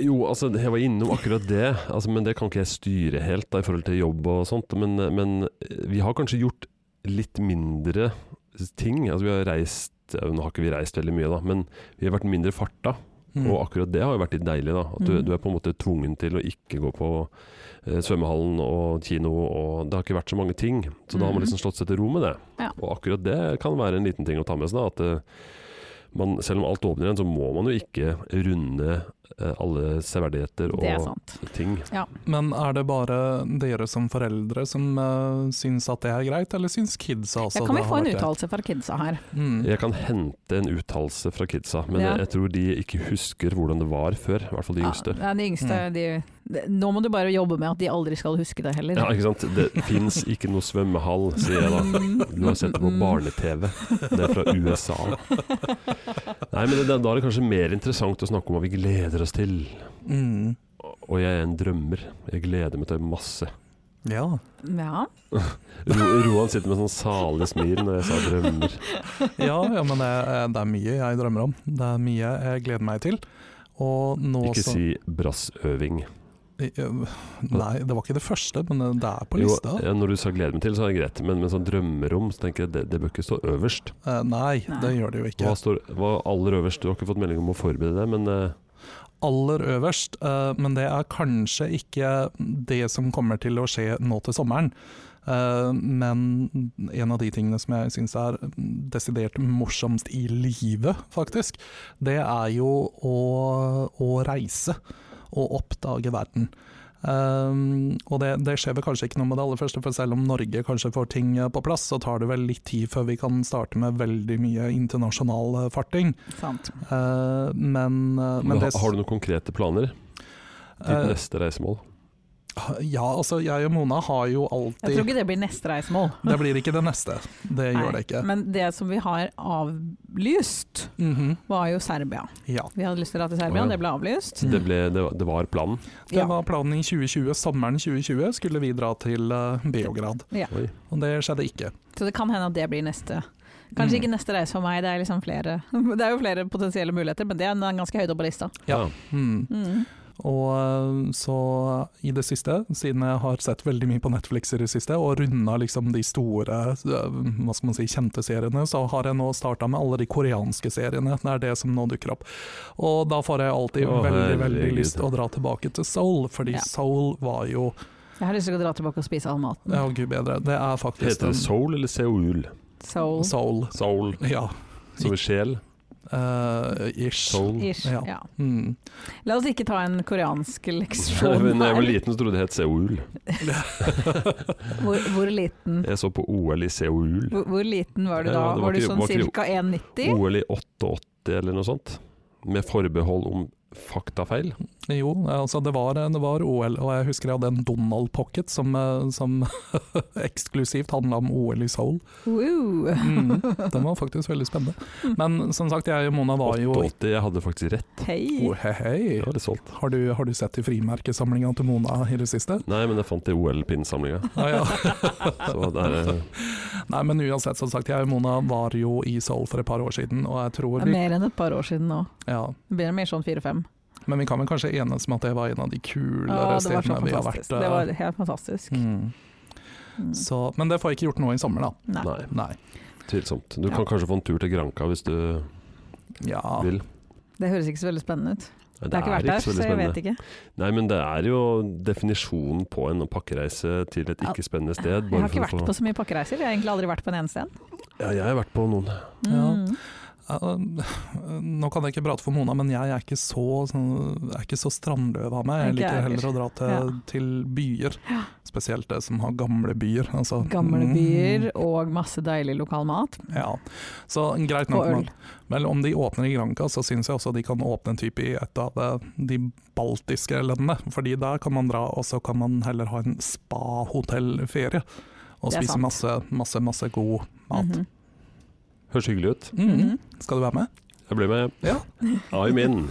[SPEAKER 1] Jo, altså jeg var innom akkurat det, altså, men det kan ikke jeg styre helt da, i forhold til jobb og sånt. Men, men eh, vi har kanskje gjort litt mindre ting. Altså, vi har reist ja, Nå har ikke vi reist veldig mye, da, men vi har vært mindre farta.
[SPEAKER 2] Mm.
[SPEAKER 1] Og akkurat det har jo vært litt deilig. da, At du,
[SPEAKER 3] Mm.
[SPEAKER 1] du er på en måte tvungen til å ikke gå på eh, svømmehallen og kino. og Det har ikke vært så mange ting, så da har man
[SPEAKER 3] Mm.
[SPEAKER 1] liksom slått seg til ro med det.
[SPEAKER 3] Ja.
[SPEAKER 1] Og akkurat det kan være en liten ting å ta med seg. da, at eh, man, Selv om alt åpner igjen, så må man jo ikke runde eh, alle severdigheter
[SPEAKER 3] Det er
[SPEAKER 1] og
[SPEAKER 3] sant.
[SPEAKER 1] ting.
[SPEAKER 2] Men er det bare dere som foreldre som uh, syns at det er greit, eller syns kidsa også
[SPEAKER 3] Ja, kan vi
[SPEAKER 2] det
[SPEAKER 3] få
[SPEAKER 2] har
[SPEAKER 3] en
[SPEAKER 2] vært det?
[SPEAKER 3] uttalelse fra kidsa her?
[SPEAKER 2] Mm.
[SPEAKER 1] Jeg kan hente en uttalelse fra kidsa, men
[SPEAKER 3] Ja. Ah,
[SPEAKER 1] jeg, jeg tror de ikke husker hvordan det var før. I hvert fall de yngste.
[SPEAKER 3] Ja, de yngste
[SPEAKER 2] Mm.
[SPEAKER 3] de, de, nå må du bare jobbe med at de aldri skal huske det heller.
[SPEAKER 1] Ja, ikke sant? Det fins ikke noe svømmehall, sier jeg da.
[SPEAKER 3] Mm.
[SPEAKER 1] Du har sett det på barne-TV. Det er fra USA. Nei, men det, Da er det kanskje mer interessant å snakke om hva vi gleder oss til.
[SPEAKER 2] Mm.
[SPEAKER 1] Og jeg er en drømmer. Jeg gleder meg til masse.
[SPEAKER 2] Ja.
[SPEAKER 3] Ja.
[SPEAKER 1] Ro, Roan sitter med sånn salig smil når jeg sa drømmer.
[SPEAKER 2] Ja, ja, men det, er- det er mye jeg drømmer om. Det er mye jeg gleder meg til. Og nå
[SPEAKER 1] Ikke
[SPEAKER 2] så Eh,
[SPEAKER 1] si brassøving.
[SPEAKER 2] Nei, det var ikke det første, men det er på
[SPEAKER 1] Jo,
[SPEAKER 2] lista.
[SPEAKER 1] ja, når du sa 'gleder meg til', så er det greit, men med sånn drømmerom så tenker jeg det, det bør ikke stå øverst.
[SPEAKER 2] Eh, Nei,
[SPEAKER 3] Nei.
[SPEAKER 2] det gjør det jo ikke.
[SPEAKER 1] Hva står hva aller øverst? Du har ikke fått melding om å forberede deg, men eh,
[SPEAKER 2] aller øverst, eh, men det er kanskje ikke det som kommer til å skje nå til sommeren. Eh, Men en av de tingene som jeg syns er desidert morsomst i livet, faktisk, det er jo å, å reise og oppdage verden. Eh, og det, det skjer vel kanskje ikke noe med det aller første, for selv om Norge kanskje får ting eh, på plass, så tar det vel litt tid før vi kan starte med veldig mye internasjonal eh, farting.
[SPEAKER 3] Sant.
[SPEAKER 2] Eh, men, eh, men det,
[SPEAKER 1] ha- har du noen konkrete planer? Ditt
[SPEAKER 2] Eh,
[SPEAKER 1] neste reisemål?
[SPEAKER 2] Ja, altså jeg og Mona har jo
[SPEAKER 3] Jeg tror
[SPEAKER 2] alltid
[SPEAKER 3] ikke det blir neste reisemål.
[SPEAKER 2] Det blir ikke det neste. Det
[SPEAKER 3] Nei,
[SPEAKER 2] gjør det ikke.
[SPEAKER 3] Men det som vi har avlyst,
[SPEAKER 2] Mhm,
[SPEAKER 3] var jo Serbia.
[SPEAKER 2] Ja.
[SPEAKER 3] Vi hadde lyst til å dra til Serbia,
[SPEAKER 1] Å, ja. Mm.
[SPEAKER 3] det ble
[SPEAKER 2] mm.
[SPEAKER 3] avlyst.
[SPEAKER 1] Så det, ble, det, var- det var planen?
[SPEAKER 2] Det
[SPEAKER 3] Ja.
[SPEAKER 2] var planen i 2020. Sommeren 2020 skulle vi dra til eh, Beograd,
[SPEAKER 1] Oi.
[SPEAKER 2] og det skjedde ikke.
[SPEAKER 3] Så det kan hende at det blir neste. Kanskje
[SPEAKER 2] Mm.
[SPEAKER 3] ikke neste reise for meg, det er, liksom flere, det er jo flere potensielle muligheter, men det er en ganske høyt oppe på lista.
[SPEAKER 2] Ja. Mm.
[SPEAKER 3] Mm.
[SPEAKER 2] Og eh, så i det siste, siden jeg har sett veldig mye på Netflix i det siste, og runda liksom de store, eh, hva skal man si, kjente seriene, så har jeg nå starta med alle de koreanske seriene. Det er det som nå dukker opp. Og da får jeg alltid
[SPEAKER 1] Å,
[SPEAKER 2] veldig, veldig
[SPEAKER 1] herregud.
[SPEAKER 2] lyst til å dra tilbake til Seoul, fordi
[SPEAKER 3] Ja.
[SPEAKER 2] Seoul var jo
[SPEAKER 3] Jeg har lyst til å dra tilbake og spise all maten.
[SPEAKER 2] Ja, gud bedre. Det er faktisk
[SPEAKER 1] Heter det
[SPEAKER 2] en
[SPEAKER 1] Soul eller Seoul?
[SPEAKER 3] Soul-ish.
[SPEAKER 2] soul.
[SPEAKER 1] Soul
[SPEAKER 2] Ja,
[SPEAKER 1] som i sjel?
[SPEAKER 2] eh, ish.
[SPEAKER 1] Soul?
[SPEAKER 2] Ja.
[SPEAKER 3] Ja.
[SPEAKER 2] Mm.
[SPEAKER 3] La oss ikke ta en koreansk
[SPEAKER 1] Da
[SPEAKER 3] leksjon
[SPEAKER 1] jeg var
[SPEAKER 3] her.
[SPEAKER 1] liten, så trodde jeg det het Seoul.
[SPEAKER 3] Hvor, hvor, liten,
[SPEAKER 1] Jeg så på OL i Seoul.
[SPEAKER 3] hvor, hvor liten var du
[SPEAKER 1] Ja,
[SPEAKER 3] da?
[SPEAKER 1] det var
[SPEAKER 3] Var du
[SPEAKER 1] ikke-
[SPEAKER 3] sånn
[SPEAKER 1] var ikke- Oh.
[SPEAKER 3] ca. 1,90?
[SPEAKER 1] OL i 88 eller noe sånt. Med forbehold om faktafeil.
[SPEAKER 2] Jo, altså det var, det var OL, og jeg husker jeg hadde en Donald Pocket som, eh, som eksklusivt handla om OL i Seoul.
[SPEAKER 3] Wow.
[SPEAKER 2] Mm. Den var faktisk veldig spennende. Men som sagt, jeg og Mona var jo
[SPEAKER 1] 88, jeg hadde faktisk rett.
[SPEAKER 3] Hei.
[SPEAKER 2] oh, hei, hei.
[SPEAKER 1] Jeg var litt solgt.
[SPEAKER 2] Har, du, har du sett i frimerkesamlinga til Mona i det siste?
[SPEAKER 1] Nei, men jeg fant det i OL-pinnsamlinga.
[SPEAKER 2] Ah, ja.
[SPEAKER 1] Så der eh,
[SPEAKER 2] Nei, men uansett, som sagt, jeg og Mona var jo i Seoul for et par år siden, og jeg
[SPEAKER 3] Det
[SPEAKER 2] tror
[SPEAKER 3] er
[SPEAKER 2] vi
[SPEAKER 3] mer enn et par år siden nå.
[SPEAKER 2] ja,
[SPEAKER 3] Det blir mer sånn fire-fem.
[SPEAKER 2] Men vi kan vel kanskje enes med at det var en av de
[SPEAKER 3] Å,
[SPEAKER 2] kulere
[SPEAKER 3] det var så
[SPEAKER 2] stedene vi har vært.
[SPEAKER 1] eh?
[SPEAKER 2] eh.
[SPEAKER 3] fantastisk. Det var helt fantastisk.
[SPEAKER 2] Mm.
[SPEAKER 3] Mm.
[SPEAKER 2] Så, men det får jeg ikke gjort nå i sommer, da.
[SPEAKER 3] Nei.
[SPEAKER 1] Nei,
[SPEAKER 2] Nei.
[SPEAKER 1] tvilsomt. Du
[SPEAKER 3] Ja. Ah.
[SPEAKER 1] kan kanskje få en tur til Granca hvis du
[SPEAKER 2] Ja.
[SPEAKER 1] vil.
[SPEAKER 3] Det høres ikke så veldig spennende ut.
[SPEAKER 1] Nei,
[SPEAKER 3] Det har ikke vært der,
[SPEAKER 1] så
[SPEAKER 3] så
[SPEAKER 1] veldig
[SPEAKER 3] jeg vet
[SPEAKER 1] spennende.
[SPEAKER 3] ikke.
[SPEAKER 1] Nei, men det er jo definisjonen på en pakkereise til et ikke spennende sted.
[SPEAKER 3] Jeg har ikke vært på så mye pakkereiser, jeg har egentlig aldri vært på en eneste en.
[SPEAKER 1] Ja, jeg har vært på noen.
[SPEAKER 2] Ja.
[SPEAKER 3] Mm.
[SPEAKER 2] Eh, Nå kan jeg ikke prate for Mona, men jeg er ikke så, sånn- er ikke så strandløv av meg. Jeg
[SPEAKER 3] Ikke jeg
[SPEAKER 2] liker
[SPEAKER 3] heller.
[SPEAKER 2] heller å dra til,
[SPEAKER 3] Ja.
[SPEAKER 2] til byer, spesielt det som har gamle byer. Altså,
[SPEAKER 3] Gamle
[SPEAKER 2] mm,
[SPEAKER 3] byer og masse deilig lokal mat.
[SPEAKER 2] Ja. Så greit
[SPEAKER 3] Og
[SPEAKER 2] nok.
[SPEAKER 3] øl.
[SPEAKER 2] men- Vel, om de åpner i Granca, så syns jeg også de kan åpne en type i et av eh, de baltiske landene. Fordi der kan man dra, og så kan man heller ha en spa-hotellferie. Og
[SPEAKER 3] Det er
[SPEAKER 2] spise
[SPEAKER 3] sant.
[SPEAKER 2] masse, masse, masse god mat.
[SPEAKER 3] Mhm.
[SPEAKER 1] Høres hyggelig ut.
[SPEAKER 2] Mhm.
[SPEAKER 3] Mhm.
[SPEAKER 2] Skal du være med?
[SPEAKER 1] Jeg blir med.
[SPEAKER 2] Ja.
[SPEAKER 1] I'm in.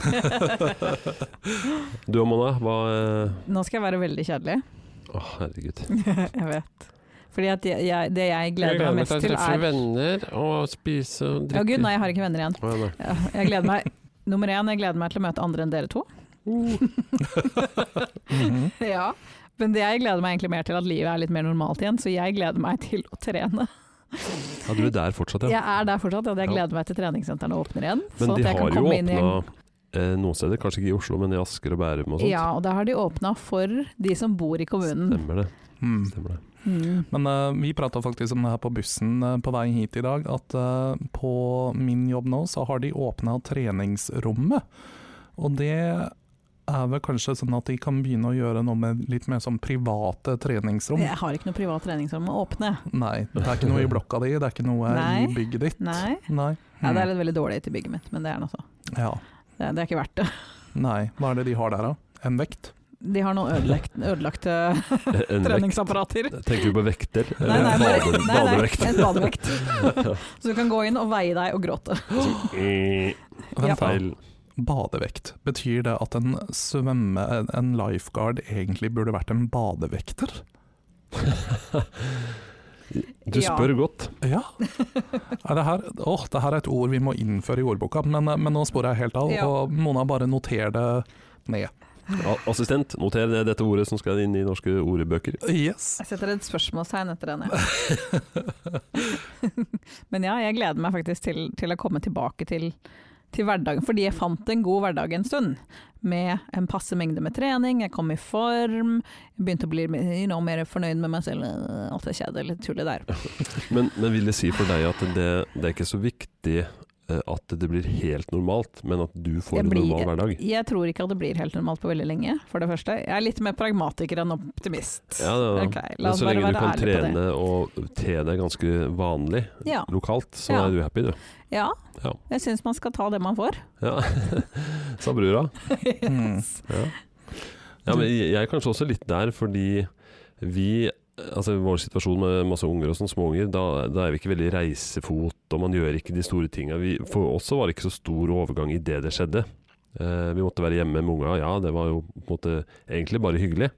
[SPEAKER 1] Du og Mona, hva eh,
[SPEAKER 3] Nå skal jeg være veldig kjedelig.
[SPEAKER 1] Å, herregud.
[SPEAKER 3] jeg vet. Fordi at jeg, jeg, det jeg gleder meg mest til, er
[SPEAKER 1] venner og spise og
[SPEAKER 3] Å gud, nei, jeg har ikke venner igjen.
[SPEAKER 1] nei.
[SPEAKER 3] Ja, Jeg gleder meg Nummer én, jeg gleder meg til å møte andre enn dere to.
[SPEAKER 2] Mhm.
[SPEAKER 3] Ja. Men det jeg gleder meg egentlig mer til at livet er litt mer normalt igjen, så jeg gleder meg til å trene.
[SPEAKER 1] Ja, du er der fortsatt,
[SPEAKER 3] Jeg
[SPEAKER 1] ja.
[SPEAKER 3] er der fortsatt, og jeg
[SPEAKER 1] Ja.
[SPEAKER 3] gleder meg til treningssentrene åpner igjen.
[SPEAKER 1] Men
[SPEAKER 3] så
[SPEAKER 1] de
[SPEAKER 3] at jeg kan
[SPEAKER 1] har jo
[SPEAKER 3] komme inn i
[SPEAKER 1] åpna
[SPEAKER 3] en-
[SPEAKER 1] eh, noen steder, kanskje ikke i Oslo, men i Asker og Bærum og sånt.
[SPEAKER 3] Ja, og da har de åpna for de som bor i kommunen.
[SPEAKER 1] Stemmer det.
[SPEAKER 2] Mm.
[SPEAKER 1] Stemmer det.
[SPEAKER 3] Mm.
[SPEAKER 2] Men eh, vi prata faktisk om det her på bussen eh, på vei hit i dag, at eh, på min jobb nå så har de åpna treningsrommet. Og det er vel kanskje sånn at de kan begynne å gjøre noe med litt mer sånn private treningsrom.
[SPEAKER 3] Jeg har ikke noe privat treningsrom å åpne.
[SPEAKER 2] Nei, det er ikke noe i blokka di, det er ikke noe
[SPEAKER 3] Nei.
[SPEAKER 2] i bygget ditt.
[SPEAKER 3] Nei.
[SPEAKER 2] Nei. Mm.
[SPEAKER 3] Ja,
[SPEAKER 1] Mm.
[SPEAKER 3] det er litt veldig dårlig til bygget mitt, men det er nå så.
[SPEAKER 2] Ja.
[SPEAKER 3] Det, det er ikke verdt det.
[SPEAKER 2] Nei. Hva er det de har der, da? En vekt?
[SPEAKER 3] De har noen ødelagt, ødelagte
[SPEAKER 1] En vekt.
[SPEAKER 3] treningsapparater.
[SPEAKER 1] Tenker du på vekter? Eh,
[SPEAKER 3] Nei, nei, bare,
[SPEAKER 1] Bade-
[SPEAKER 3] nei, nei,
[SPEAKER 1] badevekt.
[SPEAKER 3] en badevekt. Så du kan gå inn og veie deg og gråte.
[SPEAKER 2] Vent, da.
[SPEAKER 1] eh, Feil.
[SPEAKER 2] Badevekt. Betyr det at en svømme... En lifeguard egentlig burde vært en badevekter?
[SPEAKER 1] Du
[SPEAKER 3] Ja.
[SPEAKER 1] spør godt.
[SPEAKER 2] Ja. Er det, her, åh, det her er et ord vi må innføre i ordboka, men, men nå sporer jeg helt av.
[SPEAKER 3] Ja.
[SPEAKER 2] Og Mona, bare noter det ned.
[SPEAKER 1] A- Assistent, noter ned dette ordet som skal inn i norske ordbøker.
[SPEAKER 2] Yes.
[SPEAKER 3] Jeg setter et spørsmålstegn etter den. jeg. Men ja, jeg gleder meg faktisk til, til å komme tilbake til, til hverdagen. Fordi jeg fant en god hverdag en stund. Med en passe mengde med trening, jeg kom i form. Jeg begynte å bli you know, mer fornøyd med meg selv. Alt det kjedelige tullet der.
[SPEAKER 1] Men, men vil det si for deg at det, det er ikke så viktig eh, at det blir helt normalt, men at du får
[SPEAKER 3] Det
[SPEAKER 1] en
[SPEAKER 3] blir-
[SPEAKER 1] normal hverdag?
[SPEAKER 3] Jeg tror ikke at det blir helt normalt på veldig lenge, for det første. Jeg er litt mer pragmatiker enn optimist.
[SPEAKER 1] Ja, ja, ja.
[SPEAKER 3] Ok, la
[SPEAKER 1] men
[SPEAKER 3] oss
[SPEAKER 1] så
[SPEAKER 3] bare
[SPEAKER 1] lenge du
[SPEAKER 3] være
[SPEAKER 1] kan
[SPEAKER 3] ærlige på det.
[SPEAKER 1] trene og te deg ganske vanlig
[SPEAKER 3] Ja.
[SPEAKER 1] lokalt, så er
[SPEAKER 3] Ja.
[SPEAKER 1] du happy, du.
[SPEAKER 3] Ja,
[SPEAKER 1] Ja.
[SPEAKER 3] jeg syns man skal ta det man får.
[SPEAKER 1] Ja. Sa brura.
[SPEAKER 2] Mm.
[SPEAKER 1] Ja. ja, men jeg jeg er kanskje også litt der, fordi vi Altså i vår situasjon med masse unger og sånn, småunger, da, da er vi ikke veldig reisefot, og man gjør ikke de store tinga. Vi- For oss så var det ikke så stor overgang i det det skjedde. Eh, vi måtte være hjemme med unga, ja det var jo på en måte egentlig bare hyggelig.